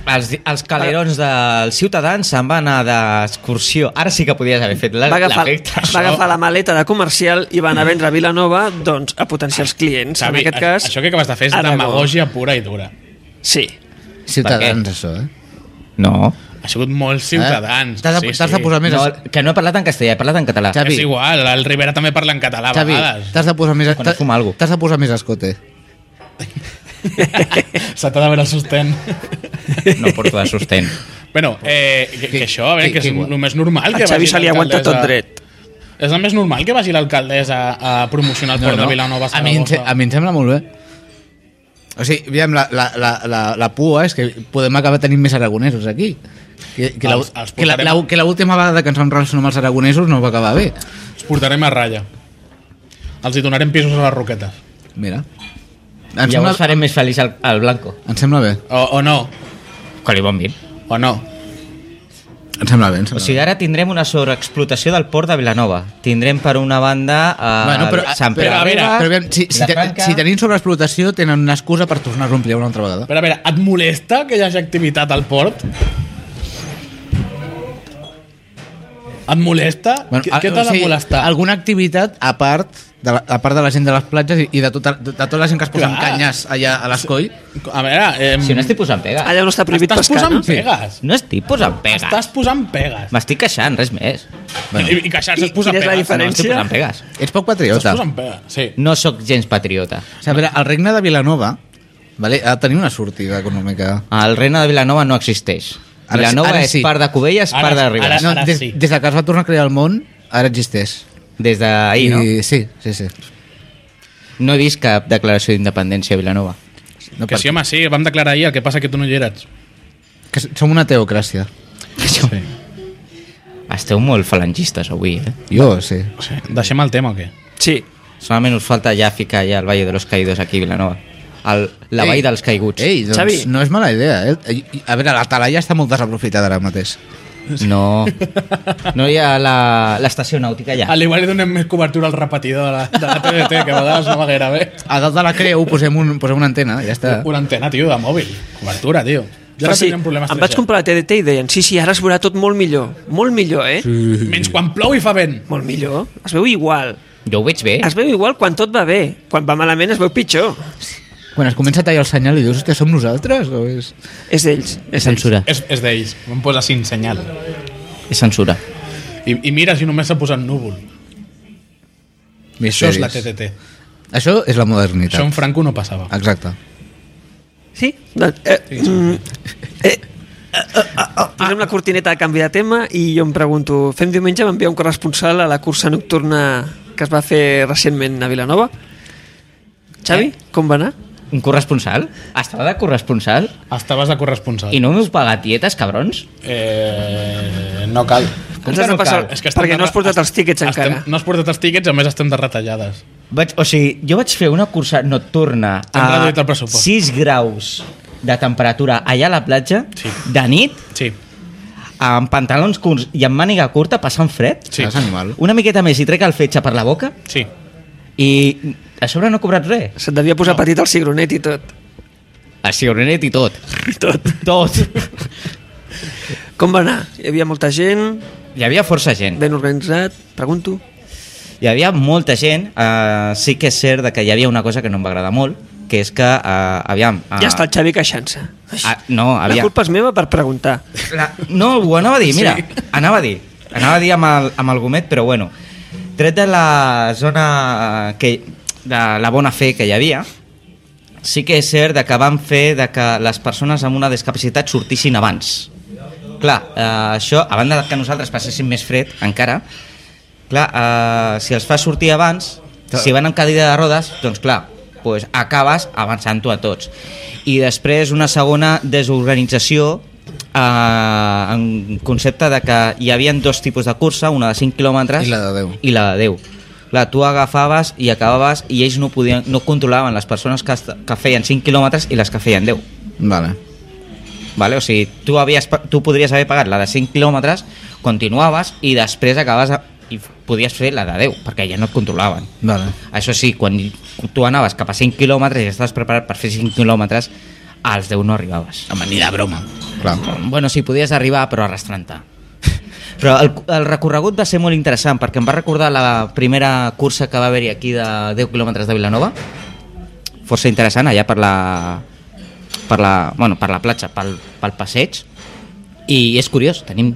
[SPEAKER 3] Els, els calerons dels ciutadans se'n van anar d'excursió. Ara sí que podies haver fet la-
[SPEAKER 4] Va agafar,
[SPEAKER 3] l'efecte.
[SPEAKER 4] va agafar la maleta de comercial i va anar a vendre a Vilanova doncs, a potencials clients.
[SPEAKER 1] Xavi,
[SPEAKER 4] en aquest cas,
[SPEAKER 1] això que acabes de fer és
[SPEAKER 4] Aragó.
[SPEAKER 1] demagògia pura i dura.
[SPEAKER 4] Sí.
[SPEAKER 2] Ciutadans, això, eh?
[SPEAKER 3] No.
[SPEAKER 1] Ha sigut molt ciutadans.
[SPEAKER 2] Eh? T'has de,
[SPEAKER 1] sí,
[SPEAKER 2] t'has de
[SPEAKER 1] sí.
[SPEAKER 2] posar més...
[SPEAKER 3] no,
[SPEAKER 2] No,
[SPEAKER 3] que no he parlat en castellà, he parlat en català.
[SPEAKER 2] Xavi,
[SPEAKER 1] És igual, el Rivera també parla en català a
[SPEAKER 2] Xavi,
[SPEAKER 1] vegades.
[SPEAKER 2] t'has de posar més...
[SPEAKER 3] Quan es fuma algo.
[SPEAKER 2] T'has de posar més escote.
[SPEAKER 1] Se t'ha de veure el sostén.
[SPEAKER 3] No porto de sostén.
[SPEAKER 1] bueno, eh, que, que, això, a veure,
[SPEAKER 2] que-
[SPEAKER 1] que,
[SPEAKER 2] que
[SPEAKER 1] és
[SPEAKER 2] igual.
[SPEAKER 1] el més normal que
[SPEAKER 4] A Xavi
[SPEAKER 1] vagi
[SPEAKER 4] se li aguanta tot
[SPEAKER 1] l'alcaldessa-
[SPEAKER 4] dret.
[SPEAKER 1] És el més normal que vagi l'alcaldessa a promocionar el port de Vilanova a
[SPEAKER 2] a, mi, em se-
[SPEAKER 1] Saragossa.
[SPEAKER 2] a mi em sembla molt bé. O sigui, aviam, la, la, la, la, la pua és que podem acabar tenint més aragonesos aquí. Que, que, la,
[SPEAKER 1] Els- els
[SPEAKER 2] que, la, la,
[SPEAKER 1] portarem-
[SPEAKER 2] que la última vegada que ens vam relacionar amb els aragonesos no va acabar bé.
[SPEAKER 1] Els portarem a ratlla. Els hi donarem pisos a les roquetes.
[SPEAKER 2] Mira. Em
[SPEAKER 3] Llavors
[SPEAKER 2] sembla,
[SPEAKER 3] farem més feliç al, al Blanco.
[SPEAKER 2] em sembla bé.
[SPEAKER 1] O, o no,
[SPEAKER 3] Que li bon vin.
[SPEAKER 1] o no.
[SPEAKER 2] Em sembla bé. Em
[SPEAKER 3] O
[SPEAKER 2] sembla
[SPEAKER 3] sigui, ara tindrem una sobreexplotació del port de Vilanova. Tindrem per una banda eh,
[SPEAKER 2] Bueno, però,
[SPEAKER 3] Sant Pere
[SPEAKER 2] però, a veure,
[SPEAKER 3] Riba,
[SPEAKER 2] però, aviam, si, si, te,
[SPEAKER 3] Vilafranca.
[SPEAKER 2] si tenim sobreexplotació tenen una excusa per tornar-ho a ampliar una altra vegada.
[SPEAKER 1] Però a veure, et molesta que hi hagi activitat al port? Et molesta? Bueno,
[SPEAKER 4] ah,
[SPEAKER 1] què
[SPEAKER 2] a-
[SPEAKER 1] què t'ha de molestar?
[SPEAKER 2] ah, Alguna activitat a part de la, a part de la gent de les platges i, i de, tota, de, de tota la gent que es posa en
[SPEAKER 1] Clar.
[SPEAKER 2] canyes allà a l'escoll.
[SPEAKER 1] A veure... Ehm,
[SPEAKER 3] Si no estic posant pega.
[SPEAKER 4] Allà on està prohibit
[SPEAKER 1] estàs
[SPEAKER 4] pescar,
[SPEAKER 1] posant
[SPEAKER 4] no?
[SPEAKER 1] pegues.
[SPEAKER 3] No estic posant pega.
[SPEAKER 1] Estàs posant pegues.
[SPEAKER 3] M'estic queixant, res més.
[SPEAKER 1] I, i queixar-se
[SPEAKER 4] I
[SPEAKER 1] és posar
[SPEAKER 4] quina és la
[SPEAKER 1] pegues.
[SPEAKER 4] diferència?
[SPEAKER 3] No estic posant pegues.
[SPEAKER 2] Ets poc
[SPEAKER 1] Estàs
[SPEAKER 2] patriota.
[SPEAKER 1] posant pegues, sí.
[SPEAKER 3] No sóc gens patriota.
[SPEAKER 2] O sigui, a veure, el regne de Vilanova vale, ha de tenir una sortida econòmica.
[SPEAKER 3] El reina de Vilanova no existeix.
[SPEAKER 2] Ara sí-
[SPEAKER 3] Vilanova
[SPEAKER 2] ara
[SPEAKER 3] és
[SPEAKER 2] sí.
[SPEAKER 3] part de Cubelles,
[SPEAKER 1] Ara-
[SPEAKER 3] part de Ribes.
[SPEAKER 1] ara-
[SPEAKER 2] No, des,
[SPEAKER 1] sí.
[SPEAKER 2] des de que es va tornar a crear el món, ara existeix.
[SPEAKER 3] Des d'ahir, no?
[SPEAKER 2] I, sí, sí, sí.
[SPEAKER 3] No he vist cap declaració d'independència a Vilanova.
[SPEAKER 2] No
[SPEAKER 1] Que
[SPEAKER 2] per-
[SPEAKER 1] sí, home, sí, vam declarar ahir, el que passa que tu no hi eres.
[SPEAKER 2] que som una teocràcia.
[SPEAKER 1] Sí.
[SPEAKER 3] Esteu molt falangistes avui, eh?
[SPEAKER 2] Jo, sí.
[SPEAKER 1] sí. Deixem el tema o què?
[SPEAKER 4] Sí.
[SPEAKER 3] Solament us falta ja ficar ja el Valle de los Caídos aquí a Vilanova. el, la
[SPEAKER 2] Ei.
[SPEAKER 3] vall dels caiguts.
[SPEAKER 2] Ei, doncs
[SPEAKER 4] Xavi.
[SPEAKER 2] no és mala idea, eh? I- A veure, la talaia està molt desaprofitada ara mateix.
[SPEAKER 3] No. No hi ha la- l'estació nàutica allà.
[SPEAKER 1] Al igual li donem més cobertura al repetidor de la, de la TDT, que a vegades no va gaire bé.
[SPEAKER 2] A dalt de la creu posem, un, posem una antena, ja està.
[SPEAKER 1] Una antena, tio, de mòbil. Cobertura, tio. Ja
[SPEAKER 4] Però
[SPEAKER 1] no
[SPEAKER 4] sí,
[SPEAKER 1] tindrem problemes.
[SPEAKER 4] em vaig comprar la TDT i deien, sí, sí, ara es veurà tot molt millor, molt millor, eh? Sí.
[SPEAKER 1] Menys quan plou i fa vent.
[SPEAKER 4] Molt millor. Es veu igual.
[SPEAKER 3] Jo ho veig bé.
[SPEAKER 4] Es veu igual quan tot va bé. Quan va malament es veu pitjor.
[SPEAKER 2] Quan es comença a tallar el senyal i dius, hòstia, som nosaltres? O és...
[SPEAKER 4] És d'ells.
[SPEAKER 3] És censura.
[SPEAKER 1] És, és d'ells. Em posa sin senyal.
[SPEAKER 3] És censura.
[SPEAKER 1] I, i mira si només s'ha posat núvol. Això és la TTT.
[SPEAKER 2] Això és la modernitat.
[SPEAKER 1] Això en Franco no passava.
[SPEAKER 2] Exacte.
[SPEAKER 4] Sí? Doncs, eh, mm, eh, Posem la cortineta a canvi de tema i jo em pregunto, fem diumenge va enviar un corresponsal a la cursa nocturna que es va fer recentment a Vilanova? Xavi, eh? com va anar?
[SPEAKER 3] Un corresponsal? Estava de corresponsal?
[SPEAKER 1] Estaves de corresponsal.
[SPEAKER 3] I no m'heu pagat tietes, cabrons?
[SPEAKER 1] Eh, no cal.
[SPEAKER 3] Com que
[SPEAKER 4] Ens has de
[SPEAKER 3] no
[SPEAKER 4] passar-
[SPEAKER 3] cal?
[SPEAKER 1] És que estem
[SPEAKER 4] Perquè
[SPEAKER 1] de-
[SPEAKER 4] no has portat els tíquets
[SPEAKER 1] Estem,
[SPEAKER 4] encara.
[SPEAKER 1] no has portat els tíquets, a més estem de retallades.
[SPEAKER 3] Vaig, o sigui, jo vaig fer una cursa nocturna
[SPEAKER 1] T'han reduït el pressupost.
[SPEAKER 3] 6 graus de temperatura allà a la platja,
[SPEAKER 1] Sí.
[SPEAKER 3] de nit,
[SPEAKER 1] Sí,
[SPEAKER 3] amb pantalons curts i amb màniga curta, passant fred,
[SPEAKER 1] sí.
[SPEAKER 2] És animal.
[SPEAKER 3] una miqueta més i trec el fetge per la boca
[SPEAKER 1] Sí.
[SPEAKER 3] i a sobre no he cobrat res.
[SPEAKER 4] Se't devia posar petit el cigronet i tot.
[SPEAKER 3] A cigronet i tot.
[SPEAKER 4] I tot.
[SPEAKER 3] Tot.
[SPEAKER 4] Com va anar? Hi havia molta gent,
[SPEAKER 3] Hi havia força gent.
[SPEAKER 4] ben organitzat, pregunto.
[SPEAKER 3] Hi havia molta gent. eh, sí que és cert de que hi havia una cosa que no em va agradar molt, que és que, eh, aviam... eh,
[SPEAKER 4] Ja està el Xavi queixant-se.
[SPEAKER 3] Ah, no,
[SPEAKER 4] La
[SPEAKER 3] aviam.
[SPEAKER 4] culpa és meva per preguntar.
[SPEAKER 3] La... No, ho anava a dir, mira, sí. anava a dir. Anava a dir amb el, amb el gomet, però bueno. Tret de la zona eh, que, de la bona fe que hi havia, sí que és cert de que van fer de que les persones amb una discapacitat sortissin abans. Clar, eh, això, a banda de que nosaltres passéssim més fred, encara, clar, eh, si els fas sortir abans, si van amb cadira de rodes, doncs clar, pues acabes avançant-ho a tots. I després una segona desorganització eh, en concepte de que hi havia dos tipus de cursa, una de 5 quilòmetres
[SPEAKER 2] I la de 10.
[SPEAKER 3] i la de 10. Clar, tu agafaves i acabaves i ells no, podien, no controlaven les persones que, est- que feien 5 quilòmetres i les que feien 10.
[SPEAKER 2] Vale.
[SPEAKER 3] Vale? O sigui, tu, havies, pa- tu podries haver pagat la de 5 quilòmetres, continuaves i després acabes a, i f- podies fer la de 10, perquè ja no et controlaven.
[SPEAKER 2] Vale.
[SPEAKER 3] Això sí, quan tu anaves cap a 5 quilòmetres i estaves preparat per fer 5 quilòmetres, als 10 no arribaves.
[SPEAKER 2] Home, ni de broma. Clar.
[SPEAKER 3] Bueno, sí, podies arribar, però arrastrant-te. <laughs> Però el, el recorregut va ser molt interessant, perquè em va recordar la primera cursa que va haver-hi aquí de 10 quilòmetres de Vilanova. Força interessant, allà per la, per la, bueno, per la platja, pel, pel passeig. I és curiós, tenim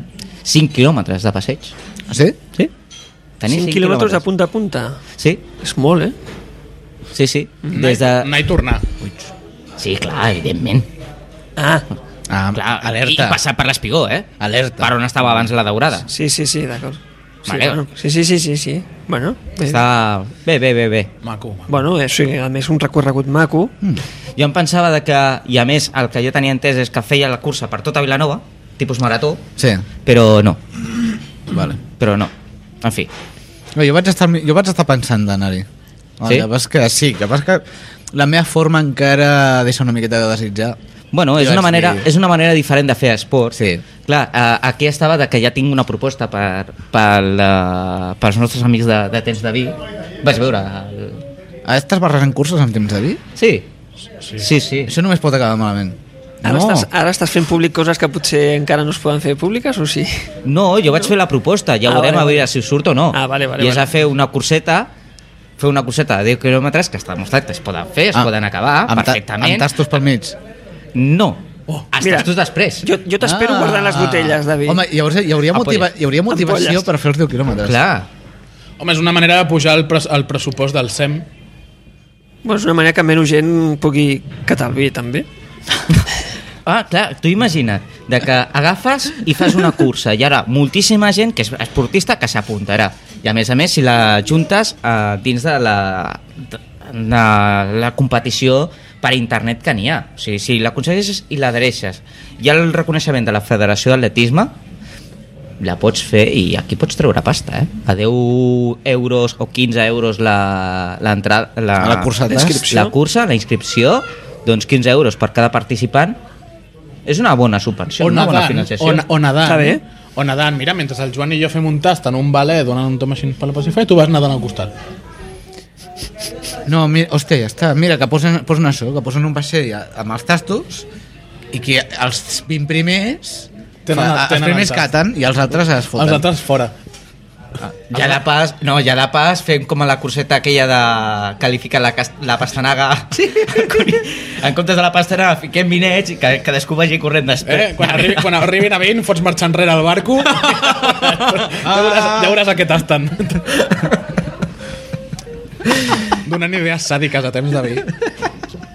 [SPEAKER 3] 5 quilòmetres de passeig.
[SPEAKER 2] Sí?
[SPEAKER 3] Sí? Tenim
[SPEAKER 4] 5 quilòmetres de punta a punta.
[SPEAKER 3] Sí,
[SPEAKER 4] És molt, eh?
[SPEAKER 3] sí, sí.
[SPEAKER 4] Mm.
[SPEAKER 3] Des de...
[SPEAKER 1] Anar i tornar.
[SPEAKER 3] Sí, clar, evidentment.
[SPEAKER 4] Ah,
[SPEAKER 2] Ah,
[SPEAKER 3] Clar,
[SPEAKER 2] alerta.
[SPEAKER 3] I passar per l'espigó, eh?
[SPEAKER 2] Alerta.
[SPEAKER 3] Per on estava abans la daurada.
[SPEAKER 4] sí, sí, sí, d'acord. Sí,
[SPEAKER 3] Vale.
[SPEAKER 4] bueno, sí, sí, sí, sí, sí. Bueno, bé.
[SPEAKER 3] Està... Bé, bé, bé, bé.
[SPEAKER 1] Maco, maco.
[SPEAKER 4] Bueno, és, sí, a més un recorregut maco.
[SPEAKER 3] Jo em pensava de que, i a més el que jo tenia entès és que feia la cursa per tota Vilanova, tipus marató,
[SPEAKER 2] Sí.
[SPEAKER 3] però no,
[SPEAKER 2] Vale.
[SPEAKER 3] però no. En fi,
[SPEAKER 2] Bé, jo, vaig estar, jo vaig estar pensant d'anar-hi.
[SPEAKER 3] Sí?
[SPEAKER 2] Que pas que sí, que pas que la meva forma encara deixa una miqueta de desitjar.
[SPEAKER 3] bueno, és
[SPEAKER 2] Jo
[SPEAKER 3] una,
[SPEAKER 2] vaig
[SPEAKER 3] manera,
[SPEAKER 2] dir-
[SPEAKER 3] és una manera diferent de fer esport.
[SPEAKER 2] Sí.
[SPEAKER 3] Clar, eh, aquí estava de que ja tinc una proposta per, per, eh, pels nostres amics de, de temps de vi. Vas veure... El...
[SPEAKER 2] Ah, Estàs barrejant curses amb temps de vi?
[SPEAKER 3] Sí. Sí, sí. sí.
[SPEAKER 2] Això només pot acabar malament.
[SPEAKER 4] Ara, no. estàs, ara estàs fent públic coses que potser encara no es poden fer públiques, o sí?
[SPEAKER 3] No, jo vaig fer la proposta, ja
[SPEAKER 4] Ah,
[SPEAKER 3] veurem
[SPEAKER 4] vale,
[SPEAKER 3] a
[SPEAKER 4] vale.
[SPEAKER 3] veure si surt o no.
[SPEAKER 4] Ah, vale, vale,
[SPEAKER 3] I és
[SPEAKER 4] vale.
[SPEAKER 3] a fer una curseta fer una curseta de 10 quilòmetres que està demostrat que es poden fer, es
[SPEAKER 2] Ah,
[SPEAKER 3] poden acabar
[SPEAKER 2] amb ta-
[SPEAKER 3] perfectament.
[SPEAKER 2] Amb tastos pel mig.
[SPEAKER 3] No. Oh,
[SPEAKER 4] Oh,
[SPEAKER 3] Has
[SPEAKER 4] mira.
[SPEAKER 3] tastos després.
[SPEAKER 4] Jo, jo t'espero
[SPEAKER 2] Ah.
[SPEAKER 4] ah. guardant les botelles, David.
[SPEAKER 2] Home, llavors hi hauria, motiva
[SPEAKER 3] Ampolles.
[SPEAKER 2] hi hauria motivació
[SPEAKER 4] Ampolles.
[SPEAKER 2] per fer els 10 quilòmetres.
[SPEAKER 3] Clar.
[SPEAKER 1] Home, és una manera de pujar el, pres el pressupost del SEM.
[SPEAKER 4] Bueno, és una manera que menys gent pugui catalbir, també.
[SPEAKER 3] Ah, clar, tu imagina't de que agafes i fas una cursa i ara moltíssima gent que és esportista que s'apuntarà. I a més a més, si la juntes eh, dins de la, de, de la competició per internet que n'hi ha. O sigui, si l'aconsegueixes i l'adreixes. Hi ha el reconeixement de la Federació d'Atletisme la pots fer i aquí pots treure pasta, eh? A 10 euros o 15 euros la, l'entrada... La,
[SPEAKER 2] A la cursa de
[SPEAKER 3] la,
[SPEAKER 2] tast.
[SPEAKER 3] la cursa, la inscripció, doncs 15 euros per cada participant. És una bona subvenció,
[SPEAKER 1] O
[SPEAKER 3] una bona
[SPEAKER 1] nedant,
[SPEAKER 3] financiació.
[SPEAKER 1] o, na- o nedant.
[SPEAKER 4] Està bé.
[SPEAKER 1] O nedant. Mira, mentre el Joan i jo fem un tast en un ballet donant un tom així per la pacifa i tu vas nedant al costat.
[SPEAKER 2] No, mira, hòstia, ja està. Mira, que posen, posen això, que posen un vaixell a- amb els tastos i que els 20 primers...
[SPEAKER 1] Tenen-
[SPEAKER 2] fa- els
[SPEAKER 1] tenen
[SPEAKER 2] primers
[SPEAKER 1] el tast.
[SPEAKER 2] caten i els altres es foten.
[SPEAKER 1] Els altres fora.
[SPEAKER 3] Ja la pas, no, ja la pas, fem com a la curseta aquella de calificar la, cas- la pastanaga. <laughs> Sí. En comptes de la pastanaga fiquem vinets i que cadascú vagi corrent
[SPEAKER 1] Eh?
[SPEAKER 3] després.
[SPEAKER 1] Quan, arribi, quan arribin a 20 fots marxar enrere al <laughs> barco ja, veuràs,
[SPEAKER 3] Ah.
[SPEAKER 1] ja veuràs a què tasten donant idees sàdiques a temps de vi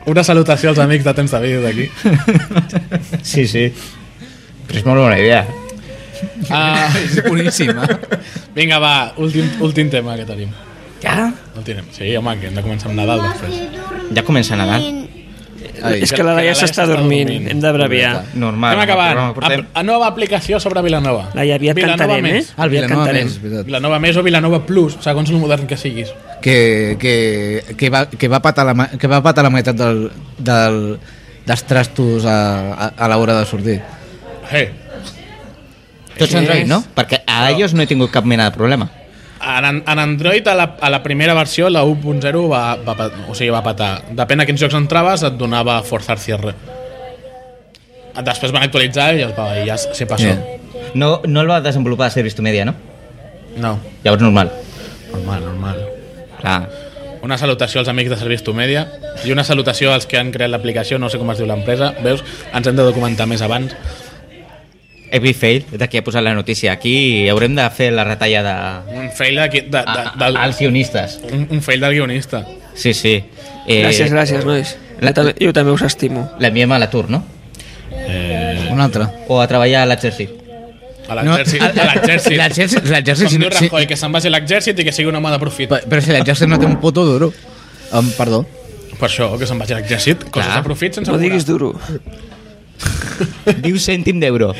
[SPEAKER 1] una salutació als amics de temps de vi d'aquí
[SPEAKER 3] Sí, sí. <laughs> Però és molt bona idea.
[SPEAKER 1] Ah,
[SPEAKER 2] És <laughs> boníssima.
[SPEAKER 1] vinga va, últim, últim tema que tenim
[SPEAKER 3] Ja?
[SPEAKER 1] últim, sí home, que hem de començar amb Nadal després
[SPEAKER 3] Ja comença Nadal.
[SPEAKER 2] Ai,
[SPEAKER 4] És que la Laia s'està dormint. Hem d'abreviar.
[SPEAKER 3] Normal.
[SPEAKER 1] anem
[SPEAKER 3] Programa
[SPEAKER 1] acabant, Ah,
[SPEAKER 3] portem.
[SPEAKER 1] a, a nova aplicació sobre Vilanova
[SPEAKER 4] Laia, aviat cantarem, eh?
[SPEAKER 1] més.
[SPEAKER 2] Ah, el Vilanova
[SPEAKER 4] Aviat
[SPEAKER 2] més, és veritat.
[SPEAKER 1] Vilanova més o Vilanova plus segons el modern que siguis
[SPEAKER 2] Que, que, que, va, que, va patar la, ma- que va patar la meitat del, del, dels trastos a, a, a l'hora de sortir.
[SPEAKER 1] hey,
[SPEAKER 3] Tots Android, no? Perquè a iOS no he tingut cap mena de problema.
[SPEAKER 1] En, en Android, a la, a la primera versió, la 1.0 va, va, pa- o sigui, va patar. Depèn a quins jocs entraves, et donava forçar cierre. Després van actualitzar i es va, i ja se passó. Yeah.
[SPEAKER 3] No, no el va desenvolupar Service to Media, no?
[SPEAKER 1] No,
[SPEAKER 3] Llavors normal.
[SPEAKER 1] normal, normal.
[SPEAKER 3] Clar.
[SPEAKER 1] Una salutació als amics de Service to Media i una salutació als que han creat l'aplicació, no sé com es diu l'empresa. Veus, ens hem de documentar més abans.
[SPEAKER 3] Every fail, d'aquí ha posat la notícia aquí i haurem de fer la retallada
[SPEAKER 1] Un fail, de, de, de,
[SPEAKER 3] a-
[SPEAKER 1] del,
[SPEAKER 3] a- als guionistes.
[SPEAKER 1] un, un fail del guionista.
[SPEAKER 3] Sí, sí. Eh,
[SPEAKER 4] Gràcies, gràcies, nois.
[SPEAKER 3] La-
[SPEAKER 4] Jo també, jo també us estimo.
[SPEAKER 3] L'enviem a l'atur, no?
[SPEAKER 2] Un altre.
[SPEAKER 3] O a treballar a l'exèrcit.
[SPEAKER 1] A l'exèrcit. No, a l'exèrcit.
[SPEAKER 2] L'exèrcit. L'exèrcit.
[SPEAKER 1] Com
[SPEAKER 2] si
[SPEAKER 1] diu
[SPEAKER 2] no- si-
[SPEAKER 1] Rajoy, que se'n vagi a l'exèrcit i que sigui un home de profit.
[SPEAKER 2] pe- Però si l'exèrcit no té un puto duro. Um, perdó.
[SPEAKER 1] Per això, que se'n vagi a l'exèrcit, coses
[SPEAKER 3] Clar.
[SPEAKER 1] de profit sense
[SPEAKER 4] No diguis
[SPEAKER 1] cura.
[SPEAKER 4] duro.
[SPEAKER 3] Diu cèntim d'euro.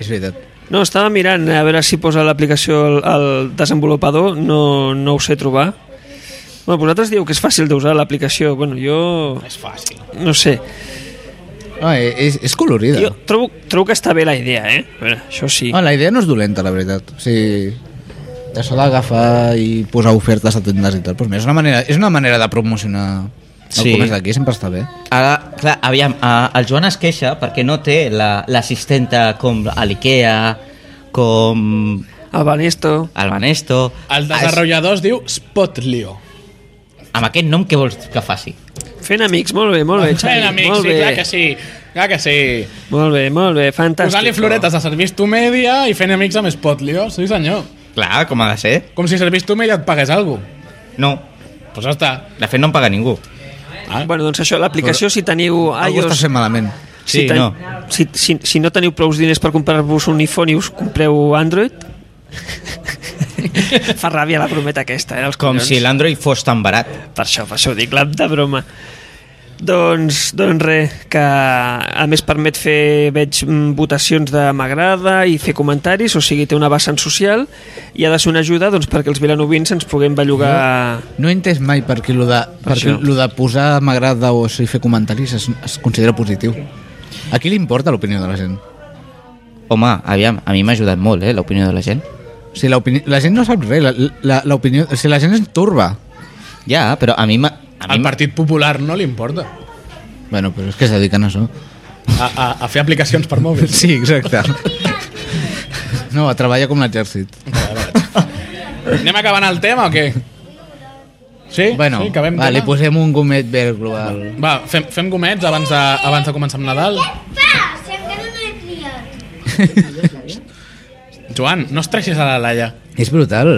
[SPEAKER 2] És veritat.
[SPEAKER 4] No, estava mirant a veure si posa l'aplicació al, al desenvolupador, no, no ho sé trobar. Bueno, vosaltres dieu que és fàcil d'usar l'aplicació. Bueno, jo...
[SPEAKER 1] És fàcil.
[SPEAKER 4] No sé.
[SPEAKER 2] No, Ah, eh, és, és colorida.
[SPEAKER 4] Jo trobo, trobo que està bé la idea, eh? A veure, això sí.
[SPEAKER 2] No, la idea no és dolenta, la veritat. O sigui, això d'agafar i posar ofertes a tendes i tal, doncs mira, és, una manera, és una manera de promocionar el
[SPEAKER 3] Sí.
[SPEAKER 2] sí. comerç d'aquí, sempre està bé.
[SPEAKER 3] Ara, Ah, clar, aviam, a, el Joan es queixa perquè no té la- l'assistenta la, com a l'IKEA, com
[SPEAKER 4] El Banesto...
[SPEAKER 3] el Banesto...
[SPEAKER 4] Ah,
[SPEAKER 3] Ah,
[SPEAKER 1] El desenvolupador es diu Spotlio.
[SPEAKER 3] Es- Amb aquest nom què vols que faci?
[SPEAKER 4] Fent amics, molt bé, molt bé, Xavi.
[SPEAKER 1] Fent amics,
[SPEAKER 4] molt
[SPEAKER 1] sí,
[SPEAKER 4] bé.
[SPEAKER 1] clar que sí. Clar que sí.
[SPEAKER 4] Molt bé, molt bé, fantàstic.
[SPEAKER 1] Posant-li floretes a Servis tu Media i fent amics amb Spotlio, sí senyor.
[SPEAKER 3] Clar, com ha de ser.
[SPEAKER 1] Com si Servis tu Media et pagués alguna cosa.
[SPEAKER 3] No,
[SPEAKER 1] Pues ja està.
[SPEAKER 3] de fet no em paga ningú.
[SPEAKER 1] Ah.
[SPEAKER 4] Bueno, doncs això, l'aplicació, si teniu
[SPEAKER 3] Ah,
[SPEAKER 2] Algú està
[SPEAKER 4] iOS...
[SPEAKER 2] fent malament.
[SPEAKER 3] Sí,
[SPEAKER 4] si, ten-
[SPEAKER 3] no.
[SPEAKER 4] si, si, si no teniu prou diners per comprar-vos un iPhone i us compreu Android... <laughs> Fa ràbia la brometa aquesta, eh, els
[SPEAKER 3] Com
[SPEAKER 4] collons.
[SPEAKER 3] si l'Android fos tan barat.
[SPEAKER 4] Per això, per això ho dic, la de broma. Doncs, doncs res, que a més permet fer, veig, mm, votacions de m'agrada i fer comentaris, o sigui, té una vessant social i ha de ser una ajuda doncs, perquè els vilanovins ens puguem bellugar...
[SPEAKER 2] No he entès mai per què lo de, per què
[SPEAKER 4] això.
[SPEAKER 2] lo de posar m'agrada o si fer comentaris es, es considera positiu. A qui li importa l'opinió de la gent?
[SPEAKER 3] Home, aviam, a mi m'ha ajudat molt, eh, l'opinió de la gent.
[SPEAKER 2] O sigui, l'opini- la gent no sap res, la, la, l'opinió- o sigui, la gent és turba.
[SPEAKER 3] Ja, però a mi m'ha... a mi
[SPEAKER 1] Al
[SPEAKER 3] m'ha-
[SPEAKER 1] Partit Popular no li importa.
[SPEAKER 2] Bueno, però és que es dediquen
[SPEAKER 1] <laughs>
[SPEAKER 2] a això.
[SPEAKER 1] A, a, a fer aplicacions per mòbil.
[SPEAKER 2] Sí, exacte. No, a treballar com l'exèrcit.
[SPEAKER 1] Anem acabant el tema o què? Sí?
[SPEAKER 2] Bueno,
[SPEAKER 1] sí, acabem
[SPEAKER 2] va, li
[SPEAKER 1] tema?
[SPEAKER 2] posem un gomet verd global.
[SPEAKER 1] Va, fem, fem gomets abans de, abans de començar amb Nadal.
[SPEAKER 5] Fa, si encara no he triat.
[SPEAKER 1] Joan, no es treixis a la Laia.
[SPEAKER 2] És brutal.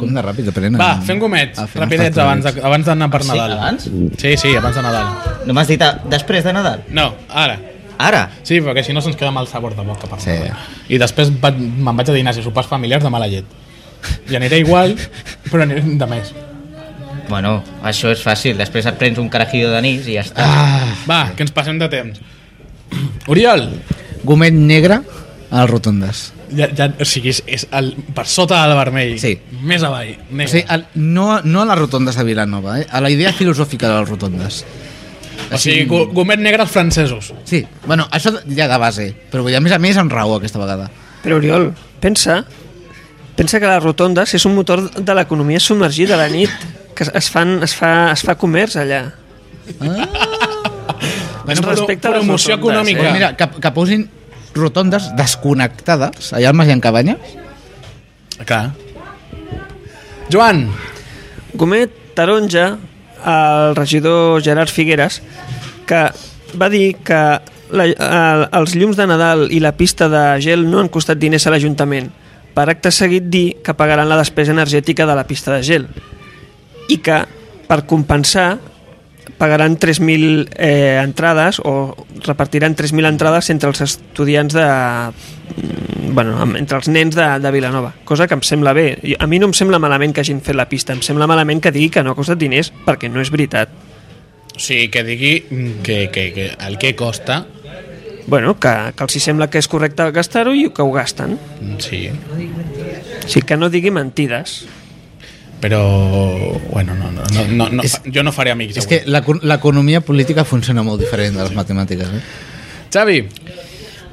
[SPEAKER 2] Com de ràpid, aprenen.
[SPEAKER 1] Va, fem gomets,
[SPEAKER 2] Ah, fem
[SPEAKER 1] rapidets,
[SPEAKER 2] bastants
[SPEAKER 1] abans, de, abans d'anar per
[SPEAKER 4] Ah,
[SPEAKER 3] Sí,
[SPEAKER 1] Nadal.
[SPEAKER 3] abans?
[SPEAKER 1] Sí, sí, abans de Nadal.
[SPEAKER 3] No m'has dit a... després de Nadal?
[SPEAKER 1] No, ara.
[SPEAKER 3] Ara?
[SPEAKER 1] Sí, perquè si no se'ns queda mal sabor de boca per
[SPEAKER 2] Sí.
[SPEAKER 1] Nadal. I després va, me'n vaig a dinar i sopars familiars de mala llet. I aniré igual, però aniré de més.
[SPEAKER 3] Bueno, això és fàcil. Després et prens un carajillo d'anís i ja està.
[SPEAKER 2] Ah.
[SPEAKER 1] Ah. Va, que ens passem de temps. Oriol,
[SPEAKER 2] Gomet negre a les rotondes.
[SPEAKER 1] Ja, ja, o sigui, és, és el, per sota del vermell.
[SPEAKER 2] Sí.
[SPEAKER 1] Més avall.
[SPEAKER 2] O
[SPEAKER 1] Negre.
[SPEAKER 2] sigui, el, no, no a les rotondes de Vilanova, eh? a la idea filosòfica de les rotondes.
[SPEAKER 1] o sigui gu- gomet negre als francesos.
[SPEAKER 2] Sí, bueno, això ja de base, però vull dir, a més a més amb raó aquesta vegada.
[SPEAKER 4] Però Oriol, pensa, pensa que les rotondes és un motor de l'economia submergida a la nit, que es- es, fan, es, fa, es fa comerç allà.
[SPEAKER 1] Bueno,
[SPEAKER 4] però- Doncs respecte a les eh?
[SPEAKER 1] promoció
[SPEAKER 4] rotondes,
[SPEAKER 1] econòmica.
[SPEAKER 2] Però mira, que, que posin rotondes desconnectades allà al Magí en Cabanyes.
[SPEAKER 1] Clar. Joan,
[SPEAKER 4] Gomet Taronja, el regidor Gerard Figueres, que va dir que la, el, els llums de Nadal i la pista de gel no han costat diners a l'Ajuntament. Per acte seguit dir que pagaran la despesa energètica de la pista de gel i que per compensar pagaran 3.000 eh, entrades o repartiran 3.000 entrades entre els estudiants de... mm, Bueno, amb- entre els nens de, de Vilanova, cosa que em sembla bé. I A mi no em sembla malament que hagin fet la pista, em sembla malament que digui que no ha costat diners, perquè no és veritat.
[SPEAKER 1] o sigui, que digui mm, que, que, que el que costa...
[SPEAKER 4] Bueno, que, que els hi sembla que és correcte gastar-ho i que ho gasten.
[SPEAKER 1] mm, Sí,
[SPEAKER 4] O sigui, que no digui mentides.
[SPEAKER 1] però... Bueno, no, no, no, no, no
[SPEAKER 2] És-
[SPEAKER 1] jo no faré amics.
[SPEAKER 2] És que
[SPEAKER 1] avui.
[SPEAKER 2] l'eco- l'economia política funciona molt diferent de les matemàtiques. Eh?
[SPEAKER 1] Xavi,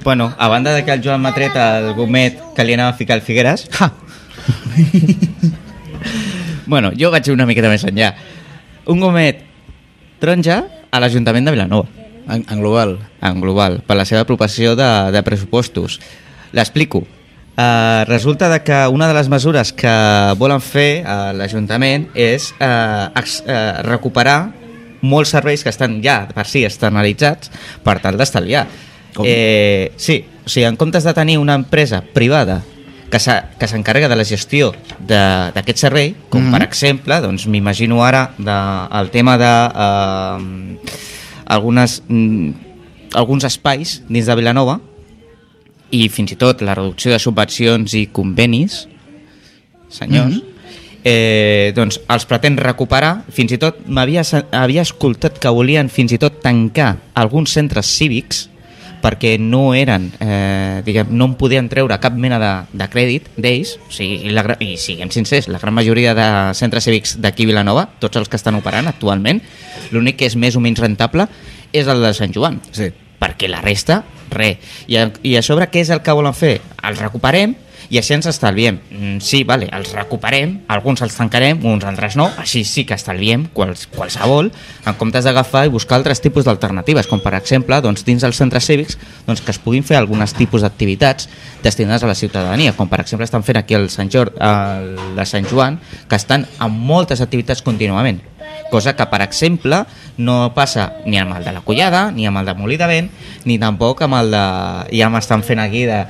[SPEAKER 3] Bueno, a banda de que el Joan m'ha tret el gomet que li anava a ficar al Figueres...
[SPEAKER 2] Ha!
[SPEAKER 3] <laughs> Bueno, jo vaig una miqueta més enllà. Un gomet taronja a l'Ajuntament de Vilanova,
[SPEAKER 2] En, en global.
[SPEAKER 3] en global, per la seva apropiació de, de pressupostos. L'explico. Uh, resulta de que una de les mesures que volen fer a l'Ajuntament és uh, ex, uh, recuperar molts serveis que estan ja per si externalitzats per tal d'estalviar.
[SPEAKER 2] Com?
[SPEAKER 3] Eh, sí, o sigui, en comptes de tenir una empresa privada que s'ha- que s'encarrega de la gestió de- d'aquest servei, com
[SPEAKER 2] Mhm.
[SPEAKER 3] per exemple, doncs m'imagino ara de, el tema de eh, algunes, mm, alguns espais dins de Vilanova i fins i tot la reducció de subvencions i convenis, senyors, eh, doncs els pretén recuperar. Fins i tot m'havia se- havia escoltat que volien fins i tot tancar alguns centres cívics perquè no eren, eh, diguem, no en podien treure cap mena de, de crèdit d'ells, o sigui, la, gra- i siguem sincers, la gran majoria de centres cívics d'aquí a Vilanova, tots els que estan operant actualment, l'únic que és més o menys rentable és el de Sant Joan
[SPEAKER 2] Sí.
[SPEAKER 3] perquè la resta, re. I a, I a sobre què és el que volen fer? Els recuperem i així ens estalviem. Mm, sí, vale, els recuperem, alguns els tancarem, uns altres no, així sí que estalviem quals, qualsevol, en comptes d'agafar i buscar altres tipus d'alternatives, com per exemple doncs, dins dels centres cívics doncs, que es puguin fer algunes tipus d'activitats destinades a la ciutadania, com per exemple estan fent aquí al Sant Jordi, al de Sant Joan, que estan amb moltes activitats contínuament cosa que, per exemple, no passa ni amb el de la Collada, ni amb el de Molí de Vent, ni tampoc amb el de... Ja m'estan fent aquí de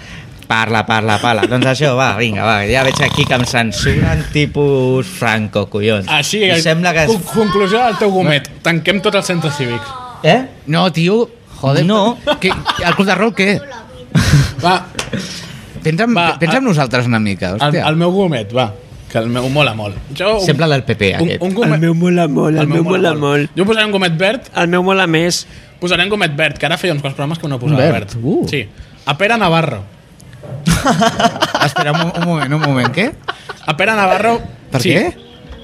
[SPEAKER 3] parla, parla, parla. Doncs això, va, vinga, va, ja veig aquí que em censuren tipus Franco, collons.
[SPEAKER 4] Ah,
[SPEAKER 1] així... eh,
[SPEAKER 3] Em sembla que...
[SPEAKER 1] con- Conclusió del teu gomet. Tanquem tots els centres cívics.
[SPEAKER 3] Eh?
[SPEAKER 2] No, tio, joder.
[SPEAKER 3] No.
[SPEAKER 2] Que, que el club de rol, què?
[SPEAKER 1] Va,
[SPEAKER 2] Pensa en,
[SPEAKER 1] Va,
[SPEAKER 2] pensa
[SPEAKER 1] el-
[SPEAKER 2] en nosaltres una mica,
[SPEAKER 1] el,
[SPEAKER 2] hòstia.
[SPEAKER 1] el meu gomet, va. Que el meu mola molt. Jo, un-
[SPEAKER 3] Sembla del PP,
[SPEAKER 1] un,
[SPEAKER 3] aquest.
[SPEAKER 1] un
[SPEAKER 4] El
[SPEAKER 1] gomet,
[SPEAKER 4] meu mola molt, el, el meu, mola molt.
[SPEAKER 1] Jo posaré un gomet verd,
[SPEAKER 4] El meu mola més.
[SPEAKER 1] posaré un gomet verd, que ara feia uns quants programes que no posava
[SPEAKER 2] Un
[SPEAKER 1] verd.
[SPEAKER 2] verd, uh.
[SPEAKER 1] Sí. A Pere Navarro.
[SPEAKER 2] Espera, un, mo- un moment, un moment, què?
[SPEAKER 1] A Pere Navarro...
[SPEAKER 2] Per
[SPEAKER 1] sí,
[SPEAKER 2] què?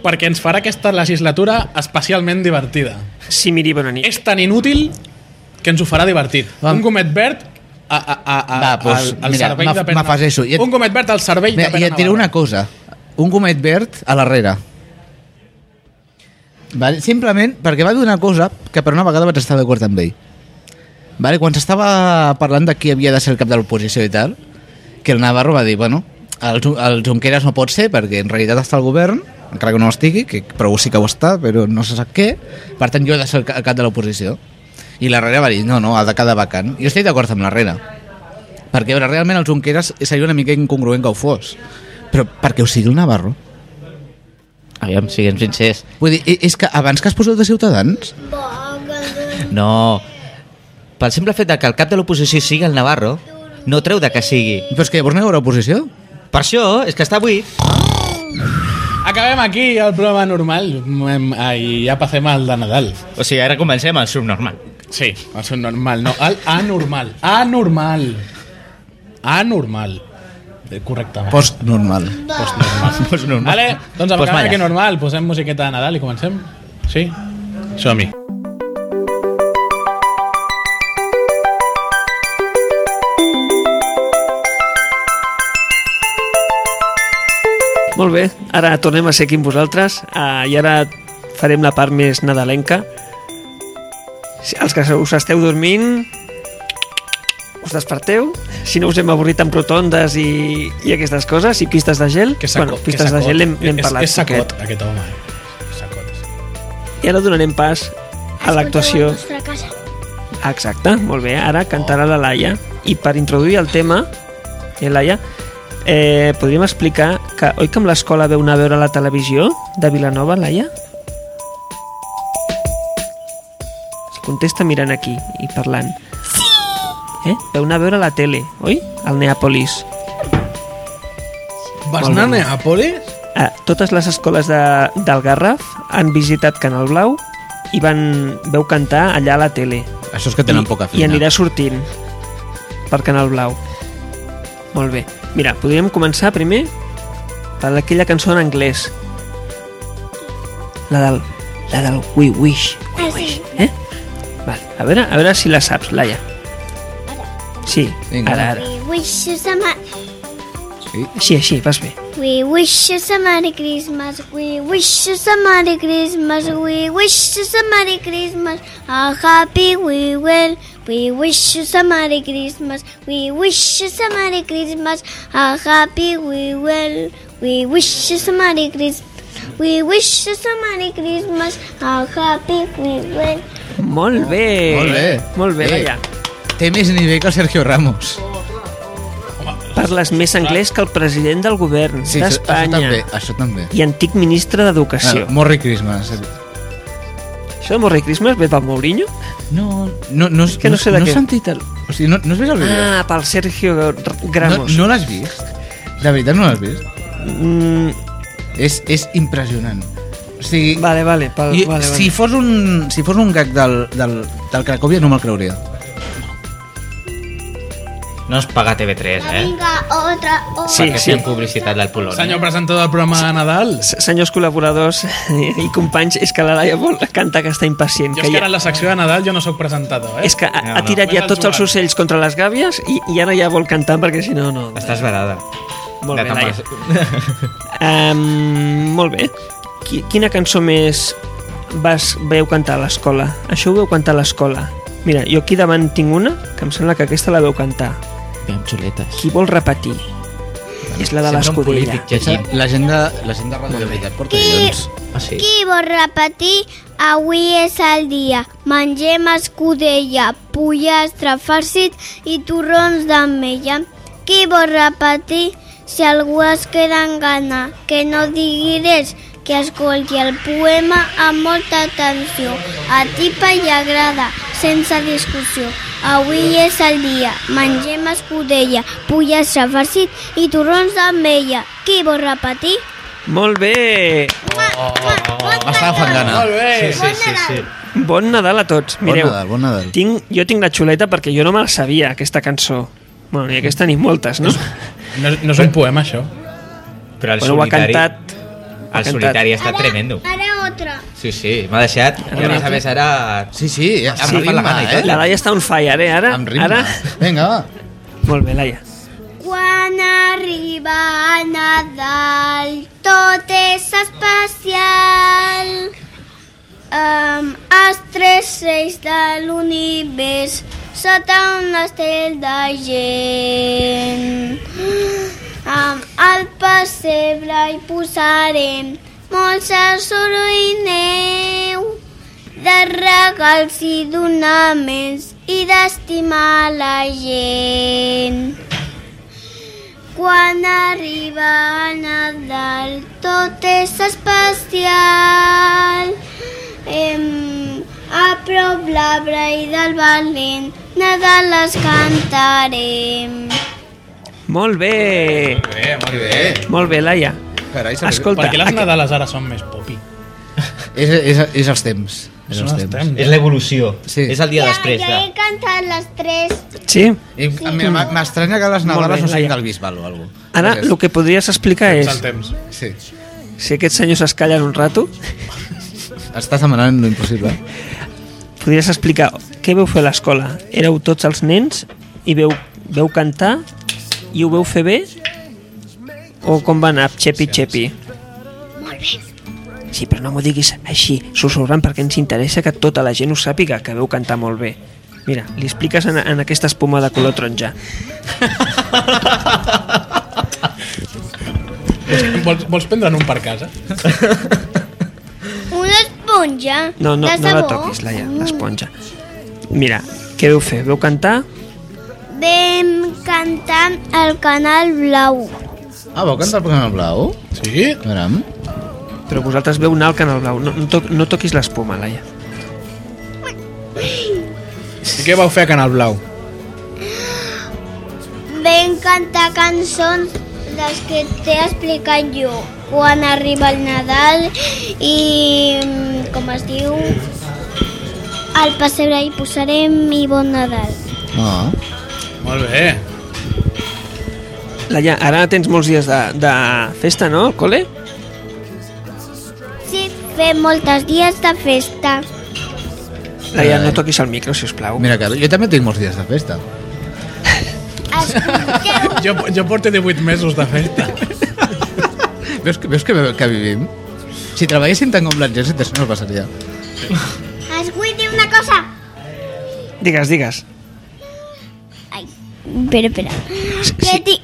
[SPEAKER 1] Perquè ens farà aquesta legislatura especialment divertida.
[SPEAKER 4] Sí, miri, bona nit.
[SPEAKER 1] És tan inútil que ens ho farà divertit.
[SPEAKER 2] Va.
[SPEAKER 1] Un gomet verd a, a, a, a,
[SPEAKER 2] Va, doncs,
[SPEAKER 1] al, al
[SPEAKER 2] mira,
[SPEAKER 1] cervell
[SPEAKER 2] m'af-
[SPEAKER 1] de Pere
[SPEAKER 2] m'afegeixo.
[SPEAKER 1] Navarro.
[SPEAKER 2] I et-
[SPEAKER 1] Un gomet verd al cervell
[SPEAKER 2] Mira,
[SPEAKER 1] de Pere
[SPEAKER 2] I et diré una cosa. Un gomet verd a l'arrere. Vale? Simplement perquè va dir una cosa que per una vegada vaig estar d'acord amb ell. Vale? Quan s'estava parlant de qui havia de ser el cap de l'oposició i tal, que el Navarro va dir, bueno, el, Ju- el Junqueras no pot ser perquè en realitat està al govern, encara que no estigui, que, però sí que ho està, però no se sap què, per tant jo he de ser el ca- el cap de l'oposició. I l'Herrera va dir, no, no, ha de quedar vacant. Jo estic d'acord amb l'Herrera, perquè a veure, realment el Junqueras seria una mica incongruent que ho fos, però perquè ho sigui el Navarro.
[SPEAKER 3] Aviam, siguem sincers.
[SPEAKER 2] Vull dir, i- és que abans que es posés de Ciutadans,
[SPEAKER 3] No. Pel simple fet de que el cap de l'oposició sigui el Navarro, no treu de que sigui.
[SPEAKER 2] però és que llavors no hi haurà oposició.
[SPEAKER 3] Per això és que està buit.
[SPEAKER 1] Acabem aquí el programa normal Em, i ja passem al de Nadal.
[SPEAKER 3] O sigui, ara comencem el subnormal. <laughs>
[SPEAKER 1] Sí, el subnormal, no, el anormal. Anormal. anormal. Eh, Correcte.
[SPEAKER 2] Post normal.
[SPEAKER 3] Pues normal.
[SPEAKER 1] Vale, doncs amb
[SPEAKER 3] Pues
[SPEAKER 1] pues
[SPEAKER 3] malla.
[SPEAKER 1] que normal, posem musiqueta de Nadal i comencem. Sí? Som-hi.
[SPEAKER 4] Molt bé, ara tornem a ser aquí amb vosaltres uh, i ara farem la part més nadalenca. Si els que us esteu dormint, us desperteu. Si no us hem avorrit amb rotondes i, i aquestes coses, i pistes de gel,
[SPEAKER 1] Que sacot, que
[SPEAKER 4] pistes de
[SPEAKER 1] sacot.
[SPEAKER 4] gel n'hem n'hem
[SPEAKER 1] És-
[SPEAKER 4] parlat.
[SPEAKER 1] És, sacot,
[SPEAKER 4] poquet.
[SPEAKER 1] aquest home. eh? Sacot.
[SPEAKER 4] I ara donarem pas a l'actuació.
[SPEAKER 5] Escolteu a la vostra casa.
[SPEAKER 4] Exacte, molt bé. Ara cantarà la Laia. I per introduir el tema, eh, Laia, eh, podríem explicar que oi que amb l'escola veu anar a veure la televisió de Vilanova, Laia? Contesta mirant aquí i parlant. Sí! Eh? Veu anar a veure la tele, oi? Al Neàpolis.
[SPEAKER 1] Vas
[SPEAKER 4] Molt
[SPEAKER 1] anar a
[SPEAKER 4] bé.
[SPEAKER 1] Neàpolis?
[SPEAKER 4] Eh, totes les escoles de, del Garraf han visitat Canal Blau i van, veu cantar allà a la tele.
[SPEAKER 2] Això és que tenen poca feina.
[SPEAKER 4] I anirà sortint per Canal Blau. Molt bé. Mira, podríem començar primer per aquella cançó en anglès. La del, la del We Wish.
[SPEAKER 5] Ah, sí.
[SPEAKER 4] Eh? Vale. A veure, a veure si la saps, Laia. Sí,
[SPEAKER 2] Vinga.
[SPEAKER 4] ara, ara.
[SPEAKER 5] We wish you some...
[SPEAKER 4] Així, així, vas bé.
[SPEAKER 5] We wish you some Merry Christmas. We wish you some Merry Christmas. We wish you some Merry Christmas. A happy we will. We wish you some Merry Christmas. We wish you some Merry Christmas. A happy we will. We wish you some Merry Christmas. We wish you some Merry Christmas. A happy we will.
[SPEAKER 4] Molt bé.
[SPEAKER 2] Molt bé.
[SPEAKER 4] Molt bé,
[SPEAKER 2] Bé.
[SPEAKER 4] Laia.
[SPEAKER 2] Té més nivell que el Sergio Ramos.
[SPEAKER 4] Parles més anglès que el president del govern
[SPEAKER 2] Sí, això, això
[SPEAKER 4] d'Espanya
[SPEAKER 2] també. Això també.
[SPEAKER 4] i antic ministre d'Educació.
[SPEAKER 2] Ah, Merry Christmas.
[SPEAKER 4] Això de Morri Christmas ve del Mourinho?
[SPEAKER 2] No, no, no,
[SPEAKER 4] que no sé de
[SPEAKER 2] no
[SPEAKER 4] què.
[SPEAKER 2] he sentit el... O sigui, no, no has vist el vídeo?
[SPEAKER 4] Ah, pel Sergio
[SPEAKER 2] no
[SPEAKER 4] Gramos.
[SPEAKER 2] no l'has vist? De veritat no l'has vist?
[SPEAKER 4] Mm,
[SPEAKER 2] És, és impressionant. O sigui,
[SPEAKER 4] vale, vale, pel,
[SPEAKER 2] i,
[SPEAKER 4] vale,
[SPEAKER 2] si,
[SPEAKER 4] vale.
[SPEAKER 2] fos un, si fos un gag del, del, del Cracòvia no me'l creuria.
[SPEAKER 3] No es paga TV3, eh?
[SPEAKER 5] Venga, otra, otra.
[SPEAKER 4] Sí,
[SPEAKER 3] Perquè
[SPEAKER 4] sí.
[SPEAKER 3] fem publicitat del Polònia.
[SPEAKER 1] Senyor presentador del programa de Nadal.
[SPEAKER 4] S- Senyors col·laboradors i companys, és que la Laia vol cantar que està impacient.
[SPEAKER 1] Jo és que
[SPEAKER 4] ja-
[SPEAKER 1] ara en la secció de Nadal jo no sóc presentador, eh?
[SPEAKER 4] és que ha,
[SPEAKER 3] No,
[SPEAKER 4] ha
[SPEAKER 3] no.
[SPEAKER 4] tirat ja
[SPEAKER 1] Només
[SPEAKER 4] tots
[SPEAKER 1] el
[SPEAKER 4] els
[SPEAKER 1] jugat.
[SPEAKER 4] ocells contra les gàbies i, i ara ja vol cantar perquè si no, no.
[SPEAKER 3] Estàs vedada.
[SPEAKER 4] Molt bé,
[SPEAKER 3] De
[SPEAKER 4] Laia.
[SPEAKER 3] tampar-
[SPEAKER 4] Um, molt bé. Qui- Quina cançó més vas veu cantar a l'escola? Això ho veu cantar a l'escola. Mira, jo aquí davant tinc una que em sembla que aquesta la veu cantar.
[SPEAKER 3] Bé, amb xuletes.
[SPEAKER 4] Qui vol repetir? És la
[SPEAKER 3] Sempre
[SPEAKER 4] de
[SPEAKER 3] un
[SPEAKER 4] l'escudella.
[SPEAKER 3] polític llegint.
[SPEAKER 2] La gent de, la gent de Ràdio Veritat porta
[SPEAKER 5] Qui,
[SPEAKER 3] Ah, sí.
[SPEAKER 5] Qui vol repetir? Avui és el dia. Mengem escudella, pollastre farcit i torrons d'ametlla. Qui vol repetir? Si algú es queda en gana, que no digui res, que escolti el poema amb molta atenció. A tipa li agrada, sense discussió. Avui és el dia, mengem escudella, pollastre farcit i torrons d'ametlla. Qui vol repetir?
[SPEAKER 4] Molt bé!
[SPEAKER 5] Oh,
[SPEAKER 2] M'estava
[SPEAKER 4] Ah,
[SPEAKER 2] fangana.
[SPEAKER 1] Molt bé.
[SPEAKER 3] Sí, sí, sí.
[SPEAKER 4] Bon Nadal a tots.
[SPEAKER 2] Bon
[SPEAKER 4] Mireu,
[SPEAKER 2] Nadal, bon Nadal.
[SPEAKER 4] Tinc, jo tinc la xuleta perquè jo no me la sabia, aquesta cançó. Bueno, i aquesta ni moltes, no?
[SPEAKER 1] No, no és un poema, això.
[SPEAKER 3] Però el
[SPEAKER 4] Bueno, ho ha
[SPEAKER 3] solitari...
[SPEAKER 4] cantat... ha
[SPEAKER 3] El
[SPEAKER 4] cantat.
[SPEAKER 3] solitari ha estat tremendo.
[SPEAKER 5] Ara otra.
[SPEAKER 3] Sí, sí, m'ha deixat. I a més a més ara...
[SPEAKER 2] Sí, sí, amb
[SPEAKER 3] Sí,
[SPEAKER 2] ritme,
[SPEAKER 3] la gana i
[SPEAKER 2] eh?
[SPEAKER 3] tot.
[SPEAKER 4] La Laia està on fire, eh? Ara,
[SPEAKER 2] Amb ritme.
[SPEAKER 4] ara...
[SPEAKER 2] Vinga, va.
[SPEAKER 4] Molt bé, Laia.
[SPEAKER 5] Quan arriba Nadal tot és especial. Um, els tres reis de l'univers sota un estel de gent. Um, al pessebre hi posarem molts soroll i neu de regals i donaments i d'estimar la gent. Quan arriba Nadal tot és especial. Em, a prop l'arbre i del valent Nadal les cantarem.
[SPEAKER 4] Molt bé!
[SPEAKER 2] Bé, molt bé.
[SPEAKER 4] Molt bé, Laia.
[SPEAKER 2] Carai, se li-
[SPEAKER 4] Escolta,
[SPEAKER 1] Perquè les
[SPEAKER 4] aqu-
[SPEAKER 1] Nadales ara són més popi.
[SPEAKER 2] És, és, és els temps. És els temps.
[SPEAKER 3] És l'evolució.
[SPEAKER 2] Sí.
[SPEAKER 3] És el dia
[SPEAKER 5] ja,
[SPEAKER 3] després.
[SPEAKER 5] ja he
[SPEAKER 3] De...
[SPEAKER 5] cantat les tres.
[SPEAKER 4] ah, Sí.
[SPEAKER 2] I a mi m'ha- M'estranya que les
[SPEAKER 4] Molt
[SPEAKER 2] Navarres no
[SPEAKER 4] bé,
[SPEAKER 2] siguin
[SPEAKER 4] Laia.
[SPEAKER 2] del Bisbal o alguna cosa.
[SPEAKER 4] Ara, el que podries explicar
[SPEAKER 1] És
[SPEAKER 4] és
[SPEAKER 1] el temps.
[SPEAKER 2] Sí.
[SPEAKER 4] si aquests senyors es callen un rato,
[SPEAKER 2] Estàs demanant l'impossible.
[SPEAKER 4] podries explicar què veu fer a l'escola. Éreu tots els nens i veu, veu cantar i ho veu fer bé? O com va anar? Xepi, xepi. Sí, però no m'ho diguis així, sussurrant, perquè ens interessa que tota la gent ho sàpiga, que veu cantar molt bé. Mira, li expliques en, en aquesta espuma de color taronja.
[SPEAKER 1] Vols, vols prendre'n un per casa?
[SPEAKER 5] Una esponja Mm,
[SPEAKER 4] No, no,
[SPEAKER 5] de
[SPEAKER 4] no la
[SPEAKER 5] sabó.
[SPEAKER 4] toquis, Laia, l'esponja. Mira, què veu fer? Veu cantar?
[SPEAKER 5] Vam cantar al Canal Blau.
[SPEAKER 2] Ah, vau cantar el programa blau?
[SPEAKER 1] Sí?
[SPEAKER 2] Caram.
[SPEAKER 4] Però vosaltres veu anar al Canal Blau. No, no, to no toquis l'espuma, Laia.
[SPEAKER 1] I què vau fer a Canal Blau?
[SPEAKER 5] Vam cantar cançons les que t'he explicat jo. Quan arriba el Nadal i... mm, com es diu... Al pessebre hi posarem i bon Nadal.
[SPEAKER 2] Ah.
[SPEAKER 1] Molt bé.
[SPEAKER 4] Laia, ara tens molts dies de, de festa, no, al col·le?
[SPEAKER 5] Sí, fem moltes dies de festa.
[SPEAKER 4] Laia,
[SPEAKER 2] Ai.
[SPEAKER 4] no toquis el micro, si us plau.
[SPEAKER 2] Eh. Mira, que jo també tinc molts dies de festa.
[SPEAKER 5] Escolteu,
[SPEAKER 1] Jo, jo porto 18 mesos de festa.
[SPEAKER 2] Veus que, veus que, que vivim? Si treballéssim tant com l'exèrcit, això no es passaria.
[SPEAKER 5] es vull dir una cosa.
[SPEAKER 4] Digues, digues.
[SPEAKER 5] Ai, espera, espera. Que ti-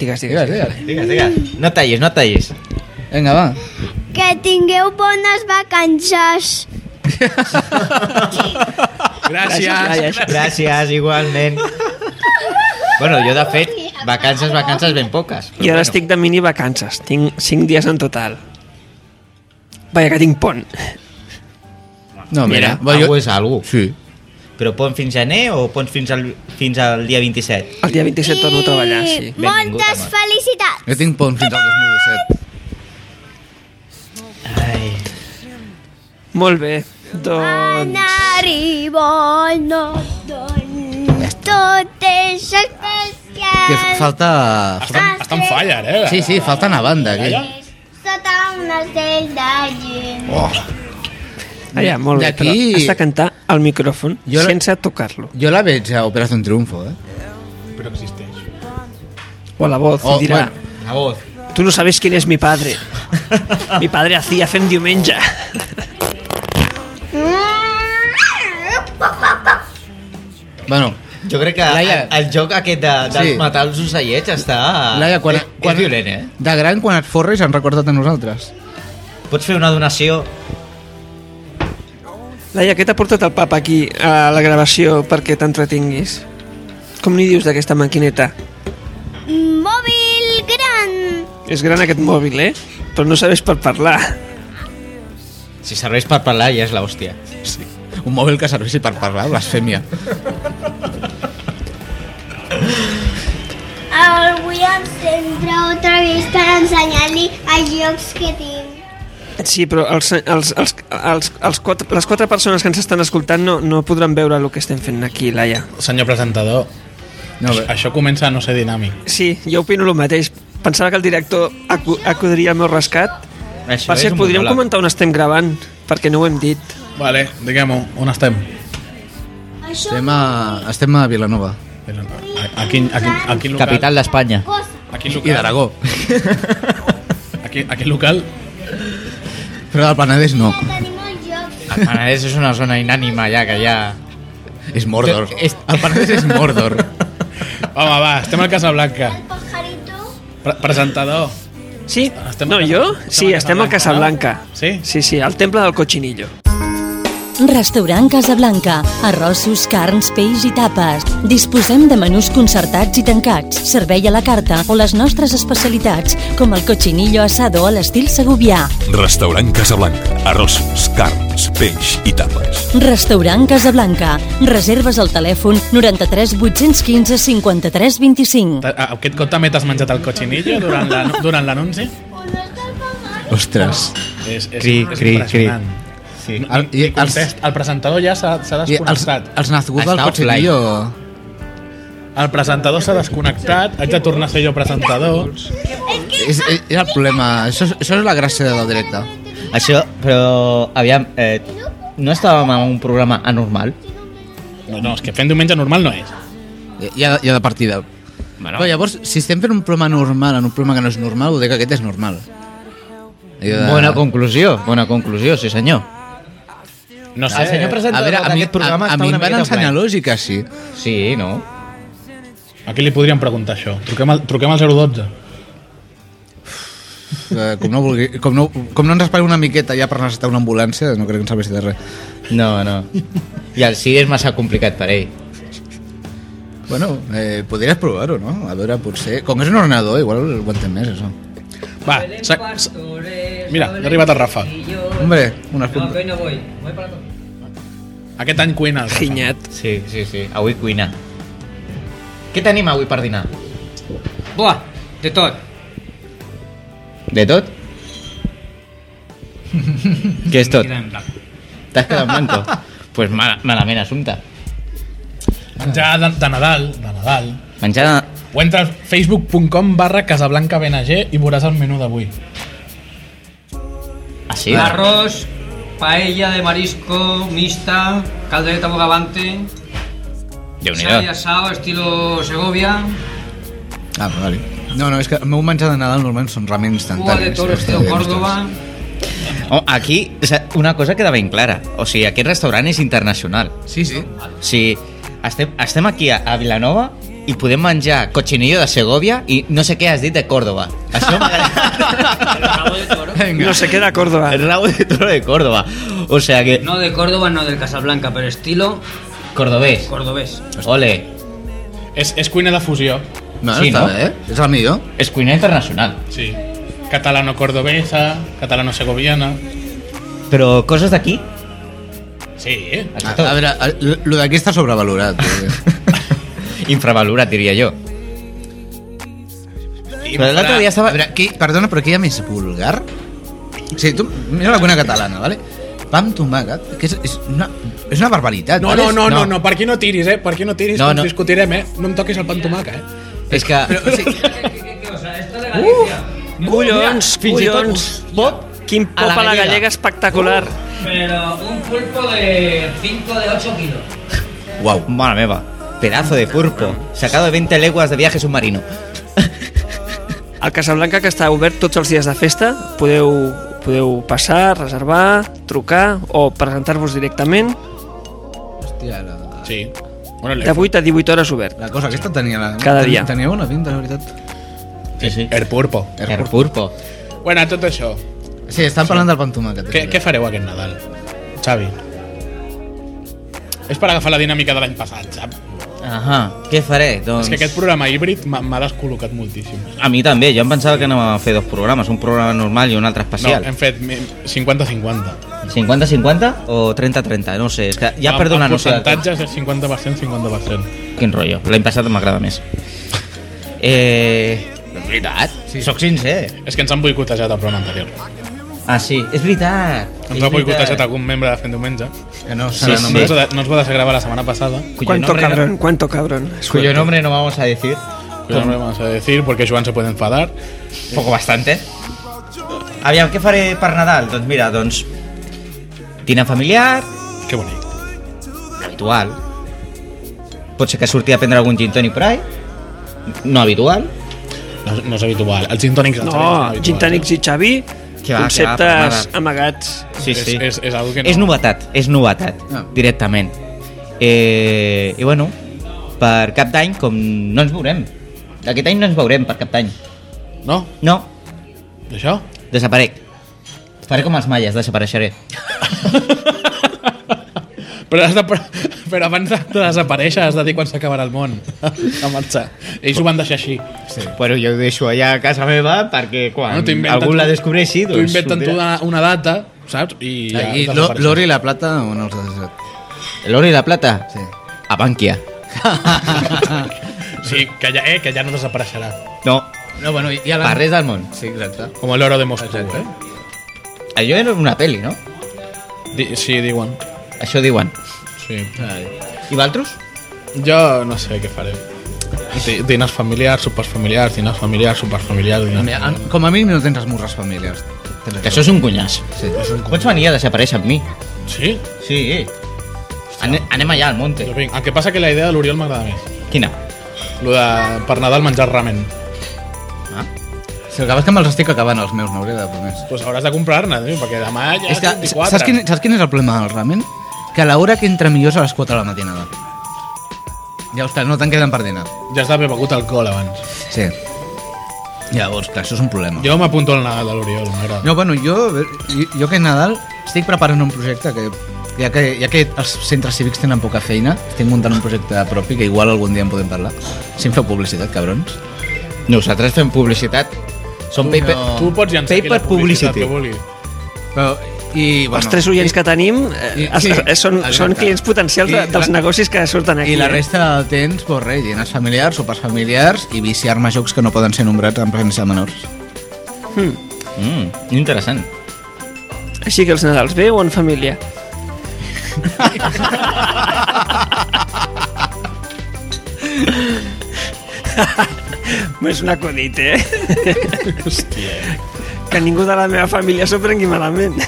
[SPEAKER 4] Digues,
[SPEAKER 2] Digues,
[SPEAKER 4] digues.
[SPEAKER 2] digues.
[SPEAKER 3] Digues, digues. No tallis, no tallis.
[SPEAKER 2] Vinga, va.
[SPEAKER 5] que tingueu bones vacances.
[SPEAKER 1] Gràcies.
[SPEAKER 3] Gràcies, igualment. Bueno, jo de fet, vacances, vacances ben poques.
[SPEAKER 4] I
[SPEAKER 3] bueno,
[SPEAKER 4] ara estic de mini vacances. Tinc 5 dies en total. Vaja, que tinc pont.
[SPEAKER 2] No,
[SPEAKER 3] Mira,
[SPEAKER 2] mira.
[SPEAKER 3] mira algú és algú.
[SPEAKER 2] Sí.
[SPEAKER 3] Però pont fins gener o pont fins al, fins al dia 27?
[SPEAKER 4] El dia 27 torno a treballar, sí.
[SPEAKER 5] I moltes
[SPEAKER 3] amor.
[SPEAKER 5] felicitats.
[SPEAKER 2] Jo tinc pont fins al 2017.
[SPEAKER 3] Ai.
[SPEAKER 4] Molt bé. Doncs...
[SPEAKER 5] Anar i vol, no, doncs, tot és
[SPEAKER 2] Que
[SPEAKER 5] especial.
[SPEAKER 2] falta...
[SPEAKER 1] Està, està en falla, ara, eh?
[SPEAKER 2] Sí, sí, falta una banda aquí.
[SPEAKER 5] Sota un ocell de gent.
[SPEAKER 1] Oh.
[SPEAKER 4] Allà, molt bé, però
[SPEAKER 2] D'aquí-
[SPEAKER 4] has de cantar al micròfon
[SPEAKER 2] Jo la-
[SPEAKER 4] sense tocar-lo.
[SPEAKER 2] Jo la veig a Operación Triunfo, eh?
[SPEAKER 1] Però existeix.
[SPEAKER 4] O la voz
[SPEAKER 2] Oh,
[SPEAKER 4] dirà,
[SPEAKER 2] bueno.
[SPEAKER 3] La voz.
[SPEAKER 4] tu no sabes quién es mi padre. mi padre hacía fem diumenge.
[SPEAKER 2] Bueno,
[SPEAKER 3] Jo crec que
[SPEAKER 2] Laia-
[SPEAKER 3] el, el joc aquest de, dels
[SPEAKER 2] Sí.
[SPEAKER 3] sí. matar els ocellets està...
[SPEAKER 2] Laia, quan,
[SPEAKER 3] és,
[SPEAKER 2] quan,
[SPEAKER 3] és violent, eh?
[SPEAKER 2] De gran, quan et forres, han recordat a nosaltres.
[SPEAKER 3] Pots fer una donació...
[SPEAKER 4] Laia, què t'ha portat el papa aquí a la gravació perquè t'entretinguis? Com n'hi dius d'aquesta maquineta?
[SPEAKER 5] Mòbil gran.
[SPEAKER 4] És gran aquest mòbil, eh? Però no sabes per parlar.
[SPEAKER 3] Si serveix per parlar ja és l'hòstia.
[SPEAKER 2] Sí. Un mòbil que serveixi per parlar, blasfèmia.
[SPEAKER 5] El vull encendre otra vez per ensenyar-li els jocs que tinc.
[SPEAKER 4] Sí, però els, els, els, els, els quatre, les quatre persones que ens estan escoltant no, no podran veure el que estem fent aquí, Laia.
[SPEAKER 1] Senyor presentador,
[SPEAKER 2] No,
[SPEAKER 1] això-
[SPEAKER 2] bé.
[SPEAKER 1] això comença a no ser dinàmic.
[SPEAKER 4] Sí, jo opino el mateix. Pensava que el director acu acudiria al meu rescat.
[SPEAKER 3] Això
[SPEAKER 4] Per
[SPEAKER 3] és
[SPEAKER 4] cert,
[SPEAKER 3] un
[SPEAKER 4] podríem
[SPEAKER 3] monòleg.
[SPEAKER 4] comentar on estem gravant, perquè no ho hem dit.
[SPEAKER 1] Vale, diguem-ho, on estem?
[SPEAKER 5] Això
[SPEAKER 2] Estem a, estem a Vilanova.
[SPEAKER 1] A, a, quin, a, quin, a quin local?
[SPEAKER 3] Capital d'Espanya.
[SPEAKER 5] cosa.
[SPEAKER 1] A quin
[SPEAKER 2] I
[SPEAKER 1] local?
[SPEAKER 2] d'Aragó.
[SPEAKER 1] A quin, a quin local?
[SPEAKER 2] Però del Penedès no.
[SPEAKER 5] Tenim els jocs.
[SPEAKER 3] El Penedès és una zona inànima ja, que ja...
[SPEAKER 2] És Mordor.
[SPEAKER 3] Jo- és-
[SPEAKER 2] El Penedès és Mordor.
[SPEAKER 1] Home, va, estem al Casablanca.
[SPEAKER 5] El pajarito.
[SPEAKER 1] Pre Presentador.
[SPEAKER 4] Sí?
[SPEAKER 1] Estem
[SPEAKER 4] no,
[SPEAKER 1] a Casa-
[SPEAKER 4] jo?
[SPEAKER 1] estem
[SPEAKER 4] Sí,
[SPEAKER 1] a
[SPEAKER 4] estem a
[SPEAKER 1] Casablanca,
[SPEAKER 4] Casablanca.
[SPEAKER 1] no? Sí?
[SPEAKER 4] Sí, sí, al temple del Cochinillo.
[SPEAKER 6] Restaurant Casablanca. Arrossos, carns, peix i tapes. Disposem de menús concertats i tancats, servei a la carta o les nostres especialitats, com el cochinillo asado a l'estil segubià.
[SPEAKER 7] Restaurant Casablanca. Arrossos, carns, peix i tapes.
[SPEAKER 6] Restaurant Casablanca. Reserves al telèfon 93 815 53 25.
[SPEAKER 1] Ta- a- Aquest cop també t'has menjat el cochinillo durant la- durant l'anunci?
[SPEAKER 2] Ostres.
[SPEAKER 1] és, és,
[SPEAKER 3] Cri,
[SPEAKER 1] és
[SPEAKER 3] cri,
[SPEAKER 1] impressionant.
[SPEAKER 3] Sí.
[SPEAKER 1] Ni,
[SPEAKER 2] El-
[SPEAKER 1] el,
[SPEAKER 2] i
[SPEAKER 1] ni
[SPEAKER 2] els-
[SPEAKER 1] contest. El presentador ja s'ha s'ha
[SPEAKER 2] I els,
[SPEAKER 1] desconnectat.
[SPEAKER 2] els nascuts del
[SPEAKER 3] Està offline.
[SPEAKER 2] cotxinillo...
[SPEAKER 1] El presentador s'ha desconnectat, haig de tornar a ser jo presentador.
[SPEAKER 2] És, és, és el problema. Això, és- això és la gràcia del directe.
[SPEAKER 3] <laughs> Això, però, aviam, eh, no estàvem en un programa anormal?
[SPEAKER 1] No, no, és que fent diumenge normal no és.
[SPEAKER 2] Ja, ja de partida. Bueno. Però llavors, si estem fent un programa normal en un programa que no és normal, vol dir que aquest és normal. Allò de-
[SPEAKER 3] Bona conclusió, bona conclusió, sí senyor.
[SPEAKER 1] No sé,
[SPEAKER 3] El senyor
[SPEAKER 2] a
[SPEAKER 3] presentador
[SPEAKER 2] veure, a mi,
[SPEAKER 3] d'aquest
[SPEAKER 2] a,
[SPEAKER 3] programa
[SPEAKER 2] a
[SPEAKER 3] està
[SPEAKER 2] mi em
[SPEAKER 3] una
[SPEAKER 2] van
[SPEAKER 3] miqueta
[SPEAKER 2] ensenyar
[SPEAKER 3] offline.
[SPEAKER 2] lògica, sí.
[SPEAKER 3] Sí, no?
[SPEAKER 1] a qui li podríem preguntar això? Truquem al, truquem al 012.
[SPEAKER 2] Eh, Com no, vulgui, com, no, com no ens esperem una miqueta ja per necessitar una ambulància, no crec que ens serveixi de res.
[SPEAKER 3] No, no. I el sí és massa complicat per ell.
[SPEAKER 2] Bueno, eh, podries provar-ho, no? A veure, potser... Com que és un ordenador, igual ho entén més, això.
[SPEAKER 1] Va, sa- sa- mira, ha arribat el Rafa.
[SPEAKER 2] Hombre, unes punt...
[SPEAKER 1] Aquest any cuina el Rafa.
[SPEAKER 4] Ginyat.
[SPEAKER 3] Sí, sí, sí. Avui cuina. Què tenim avui per dinar?
[SPEAKER 8] Buah, de tot.
[SPEAKER 3] De
[SPEAKER 8] <laughs>
[SPEAKER 3] tot? Què és tot? T'has quedat en
[SPEAKER 8] <laughs>
[SPEAKER 3] blanco? pues mal, malament assumpte.
[SPEAKER 1] Menjar de, de Nadal, de Nadal.
[SPEAKER 3] Menjar...
[SPEAKER 1] O entra al facebook.com barra casablancaBNG i veuràs el menú d'avui.
[SPEAKER 3] Ah, sí?
[SPEAKER 8] Arroz, paella de marisco mixta, caldereta bogavante,
[SPEAKER 3] déu nhi
[SPEAKER 8] sal y asado estilo Segovia,
[SPEAKER 2] Ah, vale. No, no, és que el meu menjar de Nadal normalment són ramen
[SPEAKER 8] cuba de
[SPEAKER 2] instantanis.
[SPEAKER 8] toro estilo Córdoba.
[SPEAKER 3] Oh, aquí o sea, una cosa queda ben clara. O sigui, aquest restaurant és internacional.
[SPEAKER 2] Sí, sí.
[SPEAKER 3] O sigui, estem, estem aquí a, a Vilanova i podem menjar cochinillo de Segovia i no sé què has dit de Córdoba.
[SPEAKER 8] <laughs>
[SPEAKER 3] Això m'agrada.
[SPEAKER 2] Vinga.
[SPEAKER 4] No sé què de Córdoba.
[SPEAKER 3] El rabo de toro de Córdoba. O sea que...
[SPEAKER 8] No de Córdoba, no del Casablanca, pero estilo
[SPEAKER 3] Cordobés.
[SPEAKER 8] cordobés.
[SPEAKER 3] Ole.
[SPEAKER 1] És, és cuina de fusió.
[SPEAKER 2] No,
[SPEAKER 3] Sí,
[SPEAKER 2] sí, està
[SPEAKER 3] no?
[SPEAKER 2] no? bé. eh? És el millor.
[SPEAKER 3] És cuina internacional.
[SPEAKER 1] Sí. Catalano-cordobesa, catalano-segoviana...
[SPEAKER 3] Però coses d'aquí?
[SPEAKER 1] Sí, eh?
[SPEAKER 2] A, a veure, el- lo d'aquí està sobrevalorat.
[SPEAKER 3] <laughs>
[SPEAKER 2] perquè-
[SPEAKER 3] Infravalorat, diria jo. Però l'altre dia
[SPEAKER 2] a
[SPEAKER 3] estava...
[SPEAKER 2] veure, aquí, perdona, però aquí hi ha més vulgar? O sigui, tu, mira la cuina catalana, vale? Pa amb tomàquet, que és, és, una, és una barbaritat.
[SPEAKER 1] No,
[SPEAKER 2] vale?
[SPEAKER 1] no, no,
[SPEAKER 3] No.
[SPEAKER 1] no, no, per aquí no tiris, eh? Per aquí no tiris,
[SPEAKER 3] No,
[SPEAKER 1] no, no.
[SPEAKER 3] no.
[SPEAKER 1] discutirem, eh? No em toquis el pa amb tomaca, eh?
[SPEAKER 3] És que...
[SPEAKER 2] Però, o <laughs> sigui,
[SPEAKER 4] Collons,
[SPEAKER 3] Fins i tot
[SPEAKER 4] collons.
[SPEAKER 3] un pop
[SPEAKER 4] Quin
[SPEAKER 3] a
[SPEAKER 4] pop a la Uh. gallega espectacular.
[SPEAKER 8] Uh. Pero un pulpo de 5 de 8 kilos.
[SPEAKER 2] uau.
[SPEAKER 3] Mare meva. Pedazo de pulpo. Sacado de 20 leguas de viaje submarino.
[SPEAKER 4] El Casablanca, que està obert tots els dies de festa, podeu, podeu passar, reservar, trucar o presentar-vos directament.
[SPEAKER 2] Hòstia, la,
[SPEAKER 1] Sí. Bueno,
[SPEAKER 4] De 8 a 18 hores obert.
[SPEAKER 2] la cosa aquesta tenia... La,
[SPEAKER 4] Cada
[SPEAKER 2] tenia-
[SPEAKER 4] dia.
[SPEAKER 2] Tenia una pinta, la veritat.
[SPEAKER 3] Sí, sí. Er
[SPEAKER 1] el purpo.
[SPEAKER 3] El pulpo.
[SPEAKER 1] Bueno, tot això.
[SPEAKER 2] Sí, estan parlant del pa amb tomàquet.
[SPEAKER 1] Què, què fareu aquest Nadal, Xavi? És per agafar la dinàmica de l'any passat, saps?
[SPEAKER 3] Ahà. Què faré? Doncs...
[SPEAKER 1] És que aquest programa híbrid m'ha- m'ha descol·locat moltíssim.
[SPEAKER 3] A mi també, jo em pensava que anàvem a fer dos programes, un programa normal i un altre
[SPEAKER 1] No, em-
[SPEAKER 3] especial.
[SPEAKER 1] hem fet mi- 50-50.
[SPEAKER 3] 50-50 o 30-30, no ho sé, és que ja
[SPEAKER 1] Amb-
[SPEAKER 3] perdo la
[SPEAKER 1] amb
[SPEAKER 3] noció. del temps.
[SPEAKER 1] percentatges és 50%, 50%.
[SPEAKER 3] Quin rotllo, l'any passat m'agrada més. Eh... És veritat, sí. sóc sincer.
[SPEAKER 1] És que ens han boicotejat el programa anterior.
[SPEAKER 3] Ah, sí, és veritat. Ah,
[SPEAKER 1] Ens
[SPEAKER 3] és
[SPEAKER 1] ha boicotejat
[SPEAKER 3] veritat.
[SPEAKER 1] algun membre de Fent Diumenge.
[SPEAKER 2] Que no,
[SPEAKER 3] Sí,
[SPEAKER 2] serà
[SPEAKER 3] sí.
[SPEAKER 1] No ens
[SPEAKER 2] només...
[SPEAKER 1] va de- no ens va deixar gravar la setmana pasada.
[SPEAKER 3] Cuyo
[SPEAKER 4] Cuánto
[SPEAKER 3] nombre no-
[SPEAKER 4] cabrón, cuánto cabrón.
[SPEAKER 3] Cuyo nombre no vamos a decir.
[SPEAKER 1] Però no ho vamos a decir, porque Joan se puede enfadar.
[SPEAKER 3] Poco bastante. Aviam, què faré per Nadal? Doncs mira, doncs... Dinar familiar,
[SPEAKER 1] Que bonic.
[SPEAKER 3] habitual. Pot ser que surti a prendre algun gin tònic per ahí. No habitual.
[SPEAKER 1] No, no és habitual. Els gin tònics...
[SPEAKER 4] No, gin tònics i Xavi,
[SPEAKER 3] Que va, que va, per nada.
[SPEAKER 4] conceptes amagats.
[SPEAKER 3] Sí, sí.
[SPEAKER 1] És, és, és algo que no...
[SPEAKER 3] És novetat, és novetat,
[SPEAKER 2] Ah.
[SPEAKER 3] directament. Eh, I bueno, per cap d'any, com no ens veurem. Aquest any no ens veurem per cap d'any.
[SPEAKER 1] No?
[SPEAKER 3] No,
[SPEAKER 1] D'això?
[SPEAKER 3] desaparec. Faré com els malles, desapareixeré.
[SPEAKER 1] <laughs> Però, has de, però abans de, de desaparèixer has de dir quan s'acabarà el món. A marxar. Ells ho van deixar així.
[SPEAKER 3] Sí. Bueno, jo ho deixo allà a casa meva perquè quan
[SPEAKER 1] Bueno, t'ho inventen tu- T'ho inventen tu
[SPEAKER 3] doncs, sortirà.
[SPEAKER 1] una, una data, saps? I ja
[SPEAKER 2] Aquí,
[SPEAKER 3] doncs
[SPEAKER 2] l'o-
[SPEAKER 1] desapareixen.
[SPEAKER 2] l'or i la plata o no els has deixat?
[SPEAKER 3] L'or i la plata?
[SPEAKER 2] Sí.
[SPEAKER 3] A Bànquia.
[SPEAKER 1] Sí, que ja, eh, que ja no desapareixerà.
[SPEAKER 3] No,
[SPEAKER 2] No, bueno, i a la...
[SPEAKER 3] per res del món.
[SPEAKER 2] Sí, exacte.
[SPEAKER 1] Com l'oro de Moscou, eh?
[SPEAKER 3] Allò era una peli, no?
[SPEAKER 1] Di- Sí, diuen.
[SPEAKER 3] Això diuen.
[SPEAKER 1] Sí.
[SPEAKER 3] I valtros?
[SPEAKER 1] Jo no sé què faré. Di- Dinars familiars, sopars familiars, dinars familiars, sopars familiars... Dinars
[SPEAKER 2] Mira,
[SPEAKER 1] familiars.
[SPEAKER 2] Com a mínim no tens esmorzars familiars. Tens
[SPEAKER 3] Que això és un cunyàs.
[SPEAKER 2] Sí.
[SPEAKER 3] Pots venir a desaparèixer amb mi?
[SPEAKER 1] Sí?
[SPEAKER 3] Sí. Ane anem allà al monte.
[SPEAKER 1] Jo vinc. El que passa que la idea de l'Oriol m'agrada més.
[SPEAKER 3] Quina?
[SPEAKER 1] Lo de per Nadal menjar ramen.
[SPEAKER 3] Ah.
[SPEAKER 2] Si el que vas que me'ls estic acabant els meus, n'hauré de promès.
[SPEAKER 1] Doncs pues hauràs de comprar-ne, tio, perquè demà ja
[SPEAKER 2] És
[SPEAKER 1] és
[SPEAKER 2] que,
[SPEAKER 1] 24.
[SPEAKER 2] saps, quin, saps quin és el problema del ramen? Que a l'hora que entra millor és a les 4 de la matinada. Ja, ostres, no te'n queden per dinar.
[SPEAKER 1] Ja has d'haver begut alcohol abans.
[SPEAKER 2] Sí. Llavors, clar, això és un problema.
[SPEAKER 1] Jo m'apunto al Nadal de l'Oriol, m'agrada.
[SPEAKER 2] No, bueno, jo, jo, jo que Nadal estic preparant un projecte que ja que, ja que els centres cívics tenen poca feina, estic muntant un projecte propi que igual algun dia en podem parlar. Si em feu publicitat, cabrons.
[SPEAKER 3] Nosaltres fem publicitat. Som
[SPEAKER 1] Tu,
[SPEAKER 3] paper...
[SPEAKER 1] tu pots llançar aquí la
[SPEAKER 3] paper
[SPEAKER 1] publicitat que
[SPEAKER 3] publicity.
[SPEAKER 1] vulguis.
[SPEAKER 2] Però, i, bueno,
[SPEAKER 4] Els tres oients que tenim eh,
[SPEAKER 2] i- sí,
[SPEAKER 4] es- eh, són,
[SPEAKER 2] exacte.
[SPEAKER 4] són clients potencials de,
[SPEAKER 2] I
[SPEAKER 4] dels
[SPEAKER 2] la-
[SPEAKER 4] negocis que surten
[SPEAKER 2] I
[SPEAKER 4] aquí.
[SPEAKER 2] la
[SPEAKER 4] eh?
[SPEAKER 2] resta del temps, pues res, dinars familiars, sopars familiars i viciar-me a jocs que no poden ser nombrats en presència de menors. Hmm.
[SPEAKER 3] Mm, interessant.
[SPEAKER 4] Així que els Nadals, bé o en família? És un acudit, eh?
[SPEAKER 1] Hòstia.
[SPEAKER 4] Que ningú de la meva família s'ho prengui malament.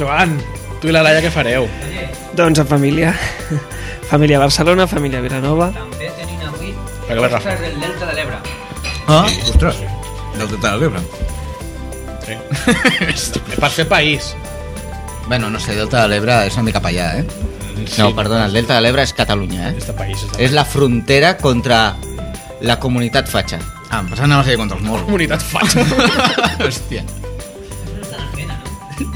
[SPEAKER 1] Joan, tu i la Laia què fareu?
[SPEAKER 4] Doncs en família. Família Barcelona, família Vilanova.
[SPEAKER 8] També tenim avui
[SPEAKER 1] Perquè ve Rafa.
[SPEAKER 8] coses del Delta de l'Ebre.
[SPEAKER 2] Ah, ostres, del tot de l'Ebre.
[SPEAKER 1] Sí. <laughs> per fer país.
[SPEAKER 2] Bueno, no sé, Delta de l'Ebre és una mica per allà, eh?
[SPEAKER 3] No, perdona, el Delta de l'Ebre és Catalunya, eh?
[SPEAKER 1] Este país és
[SPEAKER 3] És la frontera contra la comunitat fatxa.
[SPEAKER 2] Ah, em pensava que anava a ser contra els
[SPEAKER 3] <laughs>
[SPEAKER 2] moros.
[SPEAKER 1] comunitat fatxa.
[SPEAKER 4] <laughs>
[SPEAKER 2] Hòstia.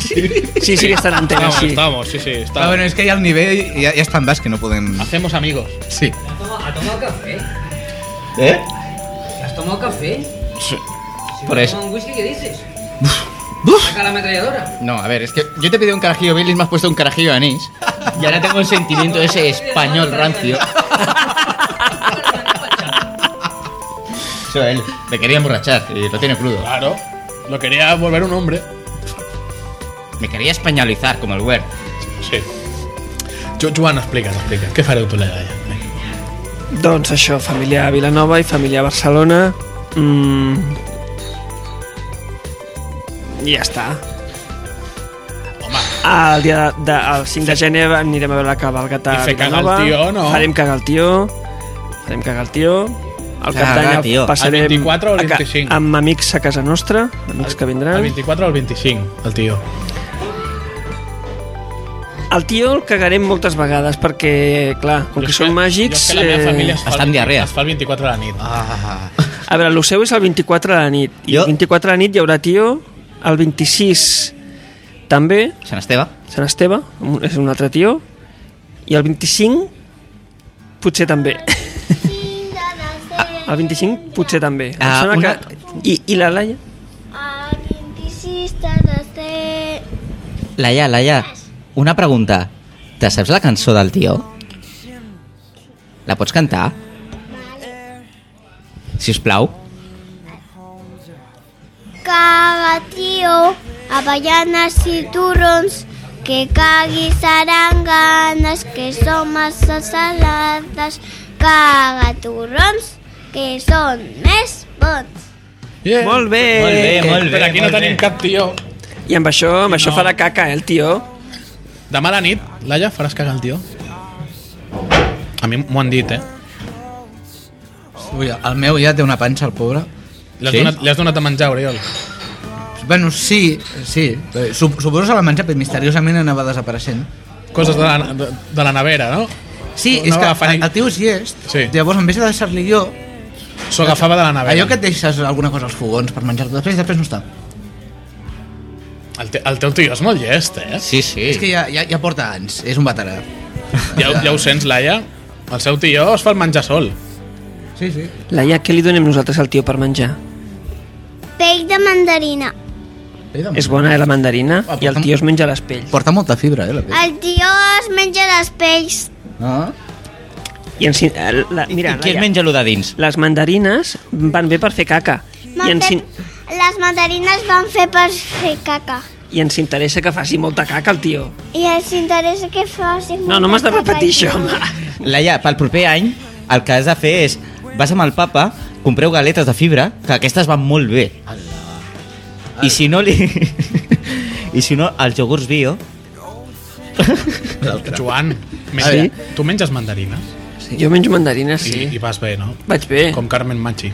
[SPEAKER 4] Sí, sí que estan en antena,
[SPEAKER 1] Estamos,
[SPEAKER 4] sí.
[SPEAKER 1] estamos, sí, sí.
[SPEAKER 2] Ah,
[SPEAKER 1] Estamos.
[SPEAKER 2] bueno, és que hi ha el nivell, ja, ja estan basc que no podem...
[SPEAKER 3] Ah,
[SPEAKER 1] Hacemos amigos.
[SPEAKER 2] Sí.
[SPEAKER 8] A tomar, a tomar cafè.
[SPEAKER 3] Eh?
[SPEAKER 8] Has tomado café? Si
[SPEAKER 3] Por
[SPEAKER 8] no
[SPEAKER 3] eso.
[SPEAKER 8] tomo un whisky, ¿qué dices?
[SPEAKER 3] ¡Buf!
[SPEAKER 8] Saca la ametralladora.
[SPEAKER 3] No, a ver, es que yo te he pedido un carajillo Bailey y me has puesto un carajillo de anís. Y ahora tengo el sentimiento de ese español rancio. Eso él. Me quería emborrachar y lo tiene crudo.
[SPEAKER 1] Claro. Lo quería volver un hombre.
[SPEAKER 3] Me quería españolizar como el Wer.
[SPEAKER 1] Sí. Jo, Joan, explica'ns, explica'ns. Què fareu tu, la Laia? Vinga.
[SPEAKER 4] Doncs això, família Vilanova i família Barcelona. Mm. I ja està.
[SPEAKER 1] Home,
[SPEAKER 4] El dia de, de, el 5 de gener anirem a veure la cabalgata
[SPEAKER 1] I
[SPEAKER 4] a
[SPEAKER 1] fer cagar el
[SPEAKER 4] Vilanova.
[SPEAKER 1] tio, no?
[SPEAKER 4] Farem cagar el tio. Farem cagar el tio. El cap
[SPEAKER 3] Cagar,
[SPEAKER 4] d'any
[SPEAKER 3] tio.
[SPEAKER 4] el passarem
[SPEAKER 1] El 24 o el
[SPEAKER 4] a ca-
[SPEAKER 1] 25?
[SPEAKER 4] amb amics a casa nostra, amics que
[SPEAKER 1] el
[SPEAKER 4] vindran.
[SPEAKER 1] 24 o el 25, el tio.
[SPEAKER 4] El tio el cagarem moltes vegades perquè, clar, com que són màgics... eh,
[SPEAKER 1] Jo és que la meva família es fa,
[SPEAKER 3] Està
[SPEAKER 1] el,
[SPEAKER 3] en diarrea.
[SPEAKER 1] es fa el 24 a la nit. Ah.
[SPEAKER 4] A veure, el seu és el 24 a la nit. I
[SPEAKER 3] Jo-
[SPEAKER 4] el 24 a la nit hi haurà tio, el 26 també,
[SPEAKER 3] San Esteban.
[SPEAKER 4] Sant Esteve, un- és un altre tio, i el 25 potser també. El 25 potser també. Em
[SPEAKER 3] Ah,
[SPEAKER 4] sembla
[SPEAKER 3] una-
[SPEAKER 4] que... I, I la Laia?
[SPEAKER 5] El 26 t'ha de ser...
[SPEAKER 3] Laia, Laia, una pregunta. Te saps la cançó del tio? La pots cantar? Si us plau.
[SPEAKER 5] Caga, tio, avellanes i turrons, que cagui saranganes, que són massa salades. Caga, turrons, que són més bons.
[SPEAKER 1] Yeah.
[SPEAKER 4] Molt bé!
[SPEAKER 3] Molt bé, molt bé,
[SPEAKER 1] Però aquí no
[SPEAKER 3] molt
[SPEAKER 1] tenim
[SPEAKER 3] bé.
[SPEAKER 1] cap tio.
[SPEAKER 4] I amb això, amb això farà caca, eh, el tio.
[SPEAKER 1] Demà a la nit, Laia, faràs cagar el tio? A mi m'ho han dit, eh?
[SPEAKER 2] Ui, el meu ja té una panxa, el pobre.
[SPEAKER 1] L'has
[SPEAKER 3] Sí?
[SPEAKER 1] donat, li has donat a menjar, Oriol.
[SPEAKER 2] Bueno, sí, sí. Eh, Sup suposo que se la menja, però misteriosament anava desapareixent.
[SPEAKER 1] Coses de la, de, de la nevera, no?
[SPEAKER 2] Sí,
[SPEAKER 1] No,
[SPEAKER 2] és
[SPEAKER 1] no,
[SPEAKER 2] que
[SPEAKER 1] agafant-
[SPEAKER 2] el, el tio és llest.
[SPEAKER 1] Sí.
[SPEAKER 2] Llavors, en vez de deixar-li jo,
[SPEAKER 1] S'ho agafava de la nevera.
[SPEAKER 2] allò que et deixes alguna cosa als fogons per menjar-te després, després no està.
[SPEAKER 1] El, te, el teu tio és molt llest, eh?
[SPEAKER 3] Sí, sí.
[SPEAKER 2] És que ja, ja, ja porta anys, és un veterà.
[SPEAKER 1] Ja, ja ho sents, Laia? El seu tio es fa el menjar sol.
[SPEAKER 2] Sí, sí.
[SPEAKER 4] Laia, què li donem nosaltres al tio per menjar?
[SPEAKER 5] Pell de mandarina.
[SPEAKER 4] És bona, eh, la mandarina?
[SPEAKER 2] Ah,
[SPEAKER 4] I el
[SPEAKER 2] porta-
[SPEAKER 4] tio es menja les pells.
[SPEAKER 2] Porta molta fibra, eh, la pell.
[SPEAKER 5] El tio es menja les pells.
[SPEAKER 2] Ah.
[SPEAKER 4] I ens, in- eh, la, mira,
[SPEAKER 3] I qui es
[SPEAKER 4] Laia,
[SPEAKER 3] menja lo de dins?
[SPEAKER 4] les mandarines van bé per fer caca. I
[SPEAKER 5] M'han
[SPEAKER 4] ens, in-
[SPEAKER 5] fet... Les mandarines van fer per fer caca.
[SPEAKER 4] i ens interessa que faci molta caca el tio.
[SPEAKER 5] I els interessa que faci...
[SPEAKER 4] No, no m'has de repetir això, home.
[SPEAKER 3] Laia, pel proper any el que has de fer és vas amb el papa, compreu galetes de fibra, que aquestes van molt bé. I si no li... <laughs> I si no, els iogurts bio...
[SPEAKER 1] Joan, menja,
[SPEAKER 4] Sí?
[SPEAKER 1] tu menges mandarines
[SPEAKER 4] Jo menjo mandarines,
[SPEAKER 1] sí. i,
[SPEAKER 4] sí.
[SPEAKER 1] i vas bé, no?
[SPEAKER 4] Vaig bé,
[SPEAKER 1] Com Carmen Machi.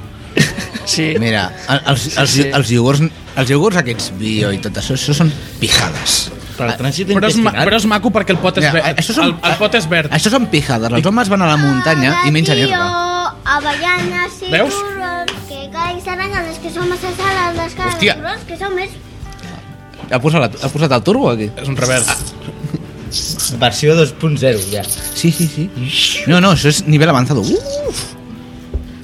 [SPEAKER 4] sí.
[SPEAKER 2] Mira, els, els,
[SPEAKER 4] Sí, sí.
[SPEAKER 2] els, iogurts, els iogurts aquests bio i tot això, això són pijades.
[SPEAKER 3] Per al trànsit
[SPEAKER 1] Però és, ma,
[SPEAKER 3] intestinal.
[SPEAKER 1] però és maco perquè el pot és
[SPEAKER 2] Mira,
[SPEAKER 1] verd.
[SPEAKER 2] això són-
[SPEAKER 1] el, el pot és verd.
[SPEAKER 2] Això són pijades. Els homes van a la muntanya i mengen herba.
[SPEAKER 5] Avellanes i
[SPEAKER 1] Veus?
[SPEAKER 5] turrons, que caigs aranyades, que són massa salades, que
[SPEAKER 2] Hòstia.
[SPEAKER 5] turrons, que són més...
[SPEAKER 2] Ha posat, ha posat el turbo aquí?
[SPEAKER 1] És un revers.
[SPEAKER 2] Ah,
[SPEAKER 3] Versió 2.0, ja.
[SPEAKER 2] Sí, sí, sí. No, no, això és nivell avançado. Uh,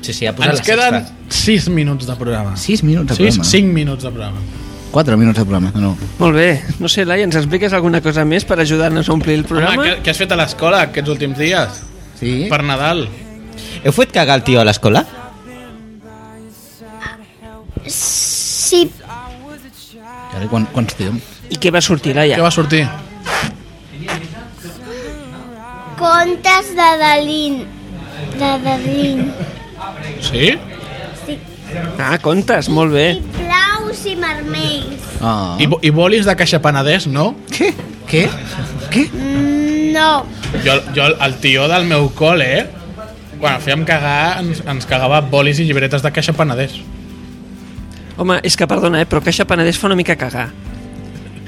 [SPEAKER 3] Sí, sí, ha posat
[SPEAKER 1] Ens
[SPEAKER 3] la
[SPEAKER 1] queden
[SPEAKER 3] sexta.
[SPEAKER 1] 6 minuts de programa.
[SPEAKER 2] 6 minuts de
[SPEAKER 1] 6,
[SPEAKER 2] programa.
[SPEAKER 1] 5 minuts de programa.
[SPEAKER 2] 4 minuts de programa. No, no.
[SPEAKER 4] Molt bé. No sé, Laia, ens expliques alguna cosa més per ajudar-nos a omplir el
[SPEAKER 1] Home,
[SPEAKER 4] programa?
[SPEAKER 1] què, què has fet a l'escola aquests últims dies?
[SPEAKER 2] Sí?
[SPEAKER 1] Per Nadal.
[SPEAKER 3] Heu fet cagar el tio a l'escola?
[SPEAKER 5] Sí,
[SPEAKER 2] Per... Quan, quants tio?
[SPEAKER 4] I què va sortir, Laia?
[SPEAKER 1] Què va sortir?
[SPEAKER 5] contes de Dalín. De
[SPEAKER 2] <laughs>
[SPEAKER 5] Dalín.
[SPEAKER 1] Sí?
[SPEAKER 4] Ah, contes, molt bé.
[SPEAKER 5] I blaus i vermells.
[SPEAKER 2] Ah.
[SPEAKER 1] I, bo- I bolis de caixa penedès, no?
[SPEAKER 2] Què? Què? Què?
[SPEAKER 5] Mm, No,
[SPEAKER 1] Jo, jo el tio del meu col, eh? Quan fèiem cagar, ens, ens cagava bolis i llibretes de caixa penedès.
[SPEAKER 4] Home, és que perdona, eh, però Caixa Penedès fa una mica cagar.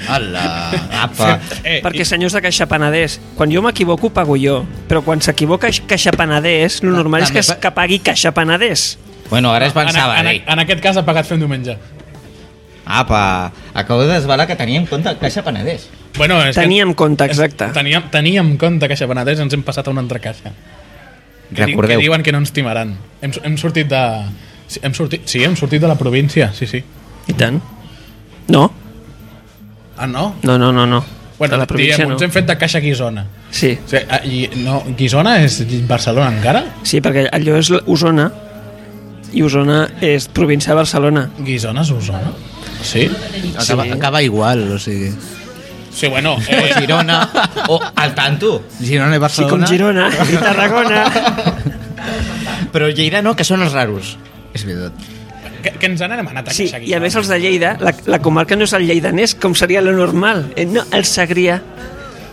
[SPEAKER 2] Hola.
[SPEAKER 3] Apa.
[SPEAKER 1] Eh,
[SPEAKER 4] Perquè, senyors de Caixa Penedès, quan jo m'equivoco pago jo, però quan s'equivoca Caixa Penedès,
[SPEAKER 1] Ah,
[SPEAKER 4] el normal és que,
[SPEAKER 2] També pa-
[SPEAKER 4] que pagui Caixa Penedès.
[SPEAKER 3] Bueno, ara es
[SPEAKER 1] i, en,
[SPEAKER 3] pensava,
[SPEAKER 1] Ah,
[SPEAKER 3] eh.
[SPEAKER 1] en,
[SPEAKER 3] ei.
[SPEAKER 1] en, aquest cas ha pagat fer un diumenge.
[SPEAKER 3] Apa, acabo de desvelar que tenia en compte el Caixa Penedès.
[SPEAKER 1] Bueno, és
[SPEAKER 4] Tenia en compte,
[SPEAKER 1] que,
[SPEAKER 4] exacte.
[SPEAKER 1] Teníem, teníem en compte caixa penedès, ens hem passat a una altra caixa. Que, di- que
[SPEAKER 3] Recordeu,
[SPEAKER 1] diuen que no ens timaran. Hem, hem sortit de... Sí, hem sortit, sí, hem sortit de la província, sí, sí.
[SPEAKER 4] I tant. No,
[SPEAKER 1] Ah, no?
[SPEAKER 4] no, no, no. no.
[SPEAKER 1] Bueno,
[SPEAKER 4] de la província
[SPEAKER 1] diem,
[SPEAKER 4] no.
[SPEAKER 1] ens hem fet de caixa Guisona.
[SPEAKER 4] Sí,
[SPEAKER 1] O sigui, ah, i, no, Guisona és Barcelona encara?
[SPEAKER 4] sí, perquè allò és Osona i Osona és província de Barcelona.
[SPEAKER 1] Guisona és Osona? Sí?
[SPEAKER 2] Acaba, acaba igual, o sigui...
[SPEAKER 1] Sí, bueno,
[SPEAKER 3] o
[SPEAKER 1] eh,
[SPEAKER 3] Girona, o Oh, al tanto,
[SPEAKER 2] <laughs> Girona i
[SPEAKER 4] Sí, com
[SPEAKER 2] Barcelona... <laughs>
[SPEAKER 4] Girona
[SPEAKER 1] Ah.
[SPEAKER 4] i Tarragona.
[SPEAKER 1] <laughs>
[SPEAKER 3] però Lleida no, que són els raros.
[SPEAKER 2] És veritat.
[SPEAKER 1] que, que ens n'hem anat a
[SPEAKER 4] Sí,
[SPEAKER 1] caixa Guisona.
[SPEAKER 4] i a més els de Lleida, la, la comarca no és el lleidanès, com seria lo normal. Eh, no, el Segrià.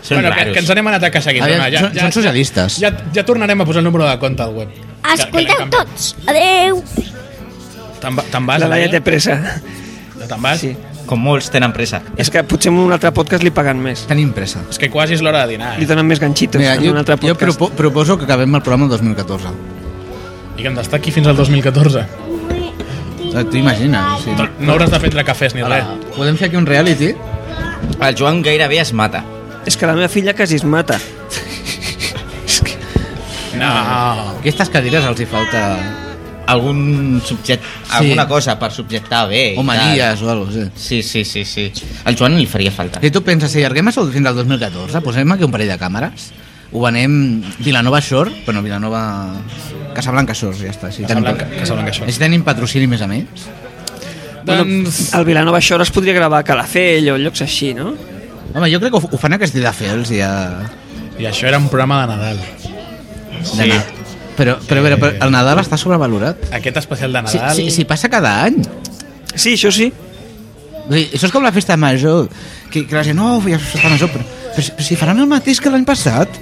[SPEAKER 3] Són
[SPEAKER 1] Bueno, que,
[SPEAKER 3] raros.
[SPEAKER 1] que ens n'hem anat a caixa Guisona.
[SPEAKER 2] Aviam, són- són socialistes.
[SPEAKER 1] Ja, ja tornarem a posar el número de compte al web.
[SPEAKER 5] escolteu tots. Adeu.
[SPEAKER 1] Te'n va- te'n vas,
[SPEAKER 4] La Laia té
[SPEAKER 1] Laia?
[SPEAKER 4] pressa.
[SPEAKER 1] Te'n vas?
[SPEAKER 4] Sí.
[SPEAKER 3] Com molts tenen pressa.
[SPEAKER 4] És que potser en un altre podcast li paguen més.
[SPEAKER 2] Tenim pressa.
[SPEAKER 1] És que quasi és l'hora de dinar,
[SPEAKER 4] Li
[SPEAKER 1] eh?
[SPEAKER 4] donen més ganxitos
[SPEAKER 2] Mira,
[SPEAKER 4] en
[SPEAKER 2] jo,
[SPEAKER 4] un altre
[SPEAKER 2] jo
[SPEAKER 4] podcast.
[SPEAKER 2] propo, proposo que acabem el programa el 2014.
[SPEAKER 1] I que hem d'estar aquí fins al 2014.
[SPEAKER 2] T'ho imagines? O sigui,
[SPEAKER 1] No hauràs de prendre cafès
[SPEAKER 4] Ah.
[SPEAKER 1] ni res.
[SPEAKER 2] podem fer aquí un reality?
[SPEAKER 3] El Joan gairebé es mata.
[SPEAKER 4] És que la meva filla quasi es mata.
[SPEAKER 1] No.
[SPEAKER 2] Aquestes cadires els hi falta...
[SPEAKER 3] Algun subjecte,
[SPEAKER 2] Sí.
[SPEAKER 3] alguna cosa per subjectar bé. i
[SPEAKER 2] O
[SPEAKER 3] tal.
[SPEAKER 2] manies o alguna cosa, sí.
[SPEAKER 3] Sí, sí, sí, sí. Al Joan li faria falta.
[SPEAKER 2] Si tu penses, si allarguem això fins al 2014, posem aquí un parell de càmeres, ho venem Vilanova Shore, bueno, Vilanova... Casablanca Shore, ja està. Si
[SPEAKER 1] Casablanca- Casablanca Shore.
[SPEAKER 2] Si tenim patrocini més a més.
[SPEAKER 1] Doncs...
[SPEAKER 4] El Vilanova Shore es podria gravar a Calafell o llocs així, no?
[SPEAKER 2] Home, jo crec que ho, ho fan a Castelldefels i a...
[SPEAKER 1] I això era un programa de Nadal.
[SPEAKER 2] de Na- Però, però, a veure, però el Nadal està sobrevalorat.
[SPEAKER 1] Aquest especial de
[SPEAKER 2] Si,
[SPEAKER 1] Nadal...
[SPEAKER 2] si, si passa cada any.
[SPEAKER 4] Sí, això sí.
[SPEAKER 2] O sigui, això és com la festa major, que, que la gent, no, ja és festa major, però, però, si- però si faran el mateix que l'any passat.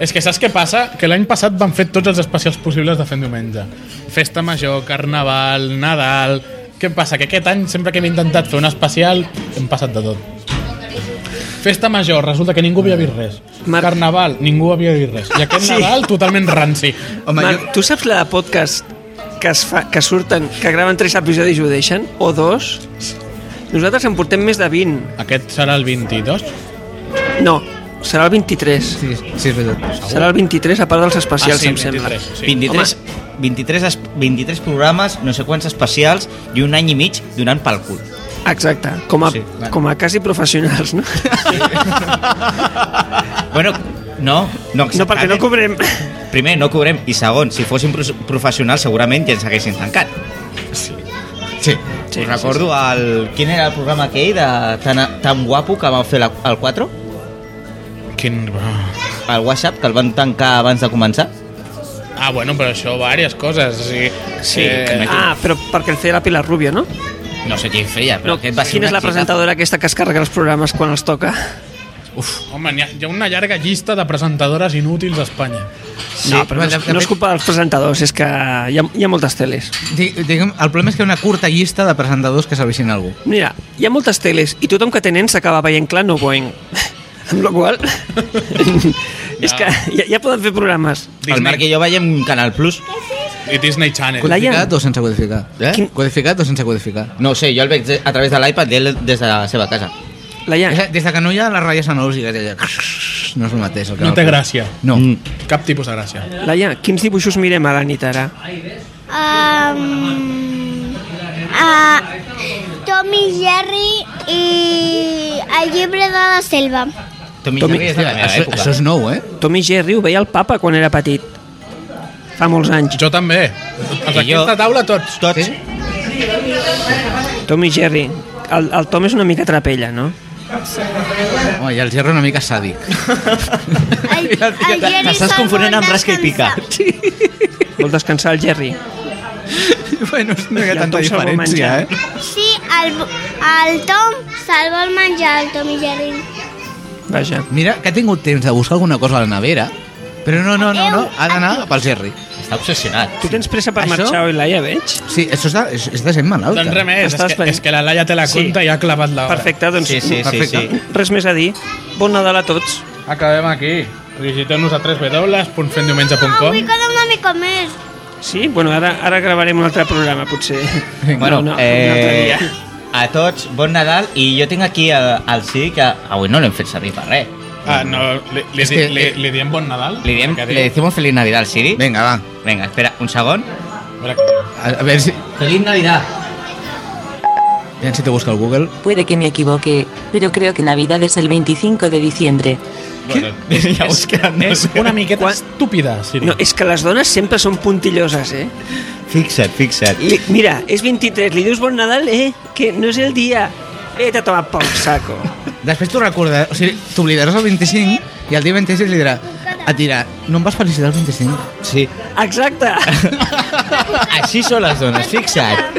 [SPEAKER 1] És que saps què passa? Que l'any passat van fer tots els especials possibles de fent diumenge. Festa major, carnaval, Nadal... Què passa? Que aquest any, sempre que hem intentat fer un especial, hem passat de tot. Festa major, resulta que ningú havia vist res.
[SPEAKER 4] Marc-
[SPEAKER 1] Carnaval, ningú havia vist res. I aquest
[SPEAKER 4] Sí.
[SPEAKER 1] Nadal, totalment ranci.
[SPEAKER 2] Home,
[SPEAKER 4] Marc,
[SPEAKER 2] jo,
[SPEAKER 4] tu saps la de podcast que, es fa, que surten, que graven tres episodis i ho deixen? O dos? Nosaltres en portem més de 20.
[SPEAKER 1] Aquest serà el 22?
[SPEAKER 4] No, serà el 23.
[SPEAKER 2] sí, sí, és veritat.
[SPEAKER 4] Serà el 23, a part dels
[SPEAKER 3] Ah,
[SPEAKER 4] especials, em sembla.
[SPEAKER 1] 23, Ah, sí.
[SPEAKER 3] 23, 23, es- 23 programes, no sé quants especials i un any i mig donant pel
[SPEAKER 4] <laughs>
[SPEAKER 3] cul.
[SPEAKER 4] Exacte, com a,
[SPEAKER 3] Sí,
[SPEAKER 4] sí,
[SPEAKER 3] vale.
[SPEAKER 4] com a quasi professionals,
[SPEAKER 3] <laughs>
[SPEAKER 4] no?
[SPEAKER 3] Bueno, no, no,
[SPEAKER 4] No, perquè no cobrem.
[SPEAKER 3] Primer, no cobrem. I segon, si fóssim pro- professionals segurament ja ens haguessin tancat.
[SPEAKER 2] Sí.
[SPEAKER 4] Sí, Sí,
[SPEAKER 3] Sí, Us recordo el... Quin era el programa aquell de tan, tan guapo que van fer la, el 4?
[SPEAKER 1] Quin...
[SPEAKER 3] El WhatsApp, que el van tancar abans de començar?
[SPEAKER 1] Ah, bueno, però això, diverses coses. O sigui,
[SPEAKER 4] Sí,
[SPEAKER 1] eh,
[SPEAKER 4] ah, però perquè el feia la Pilar Rubio, no?
[SPEAKER 3] No sé qui feia, però
[SPEAKER 4] no
[SPEAKER 3] no, aquest va ser
[SPEAKER 4] quina és
[SPEAKER 3] un eh?
[SPEAKER 4] la presentadora aquesta que es carrega els programes quan els toca?
[SPEAKER 1] Home, n'hi ha, hi ha una llarga llista de presentadores inútils a Espanya.
[SPEAKER 4] Sí, no, però no, és- no és culpa dels presentadors, és que hi ha, hi ha moltes teles.
[SPEAKER 2] Di- Diguem, el problema és que hi ha una curta llista de presentadors que serveixin a algú.
[SPEAKER 4] Mira, hi ha moltes teles i tothom que tenen s'acaba veient clar no Boeing. <laughs> Amb la qual <laughs> cosa... és que ja, ja poden fer programes.
[SPEAKER 3] Disney. El Marc i jo veiem Canal Plus.
[SPEAKER 1] I Disney Channel.
[SPEAKER 4] Colai- Laia.
[SPEAKER 2] Codificat o sense codificar?
[SPEAKER 3] Eh? Quin-
[SPEAKER 2] Codificat o sense codificar?
[SPEAKER 3] No ho sé, jo el veig de- a través de l'iPad i ell des de la seva casa.
[SPEAKER 4] Laia,
[SPEAKER 2] És a- Des de que no hi ha les ratlles analògiques, allà, no és el mateix. El que
[SPEAKER 1] No té gràcia.
[SPEAKER 2] No. Mm.
[SPEAKER 1] Cap tipus de gràcia.
[SPEAKER 4] Laia, quins dibuixos mirem a la nit ara?
[SPEAKER 5] Um, uh, Tom i Jerry i el llibre de la selva.
[SPEAKER 3] Tommy
[SPEAKER 4] Tommy-
[SPEAKER 3] Jerry és de la meva
[SPEAKER 2] Això,
[SPEAKER 3] època.
[SPEAKER 2] això és nou, eh?
[SPEAKER 4] Tom i Jerry ho veia el papa quan era petit. Fa molts anys.
[SPEAKER 1] Jo també. Els
[SPEAKER 3] I
[SPEAKER 1] d'aquí
[SPEAKER 3] jo-
[SPEAKER 1] a taula tots.
[SPEAKER 3] Tots. Sí?
[SPEAKER 4] Tom i Jerry. El, el Tom és una mica trapella, no?
[SPEAKER 2] Oh, I el gerro una mica sàdic.
[SPEAKER 5] El, el Jerry
[SPEAKER 3] T'estàs
[SPEAKER 5] se'l
[SPEAKER 3] confonent
[SPEAKER 5] vol
[SPEAKER 3] amb Rasca i Pica.
[SPEAKER 5] descansar.
[SPEAKER 4] Vol descansar el Jerry.
[SPEAKER 2] bueno, no hi
[SPEAKER 4] I el Tom se'l vol menjar.
[SPEAKER 2] eh?
[SPEAKER 5] Sí, el, el Tom se'l vol menjar, el Tom i Jerry.
[SPEAKER 4] Vaja.
[SPEAKER 2] Mira, que ha tingut temps de buscar alguna cosa a la nevera, però no, no, no, no ha d'anar pel Jerry.
[SPEAKER 3] Està obsessionat.
[SPEAKER 4] Tu tens pressa per
[SPEAKER 2] Això?
[SPEAKER 4] marxar, oi, Laia, veig?
[SPEAKER 2] Sí, això és de, és- és de gent malalta.
[SPEAKER 1] Doncs res més,
[SPEAKER 4] Estàs
[SPEAKER 1] és que,
[SPEAKER 4] fent-
[SPEAKER 1] és que la Laia té la
[SPEAKER 4] Sí.
[SPEAKER 1] conta i ha clavat la hora.
[SPEAKER 4] Perfecte, doncs
[SPEAKER 3] Ah, Sí, sí, sí, sí.
[SPEAKER 2] Perfecte.
[SPEAKER 4] res més a dir. Bon Nadal a tots.
[SPEAKER 1] Acabem aquí. Visiteu-nos a
[SPEAKER 5] Avui
[SPEAKER 1] www.fendiumenge.com
[SPEAKER 5] queda una mica més.
[SPEAKER 4] Sí? Bueno, ara, ara gravarem un altre programa, potser.
[SPEAKER 3] Bueno,
[SPEAKER 4] no, no, un altre
[SPEAKER 3] eh,
[SPEAKER 4] dia.
[SPEAKER 3] a tots, bon Nadal i jo tinc aquí el, el sí que avui no l'hem fet servir per res.
[SPEAKER 1] Ah, no, li, li,
[SPEAKER 2] És que-
[SPEAKER 1] li, li, li diem bon Nadal?
[SPEAKER 3] Li diem,
[SPEAKER 1] Perquè
[SPEAKER 3] le decimos Feliz Navidad al Siri.
[SPEAKER 2] Vinga, va.
[SPEAKER 3] Vinga, espera, un segon.
[SPEAKER 1] Mira que-
[SPEAKER 2] A, a veure si,
[SPEAKER 3] Feliz Navidad.
[SPEAKER 2] aviam si te busca el Google.
[SPEAKER 9] Puede que me equivoque, pero creo que Navidad es el 25 de diciembre.
[SPEAKER 1] Bueno,
[SPEAKER 3] Ja us queden
[SPEAKER 1] és
[SPEAKER 3] més.
[SPEAKER 1] una miqueta
[SPEAKER 4] Quan-
[SPEAKER 1] estúpida, Siri.
[SPEAKER 4] No, eh, és que les dones sempre són puntilloses, eh?
[SPEAKER 3] Fixa't, fixa't.
[SPEAKER 4] Li, mira, és 23, li dius bon Nadal, eh? Que no és el dia. Vete a tomar pel saco. <laughs>
[SPEAKER 2] Després t'ho recordarà, o sigui, t'oblidaràs el 25 i el dia 26 li dirà, et dirà, no em vas felicitar el 25.
[SPEAKER 3] Sí.
[SPEAKER 4] Exacte.
[SPEAKER 3] Així són les dones, fixa't.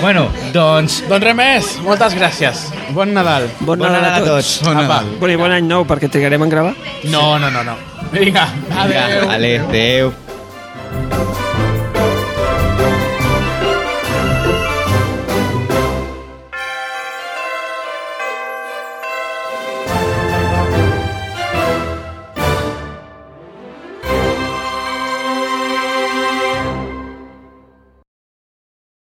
[SPEAKER 3] Bueno, doncs...
[SPEAKER 1] Doncs res més, moltes gràcies. Bon Nadal.
[SPEAKER 4] Bon, Nadal, a tots.
[SPEAKER 2] Bon
[SPEAKER 1] Apa.
[SPEAKER 2] Nadal.
[SPEAKER 4] Bueno, i bon any nou, perquè trigarem en gravar.
[SPEAKER 1] No, no, no, no. Vinga, adéu.
[SPEAKER 3] Vale, adéu.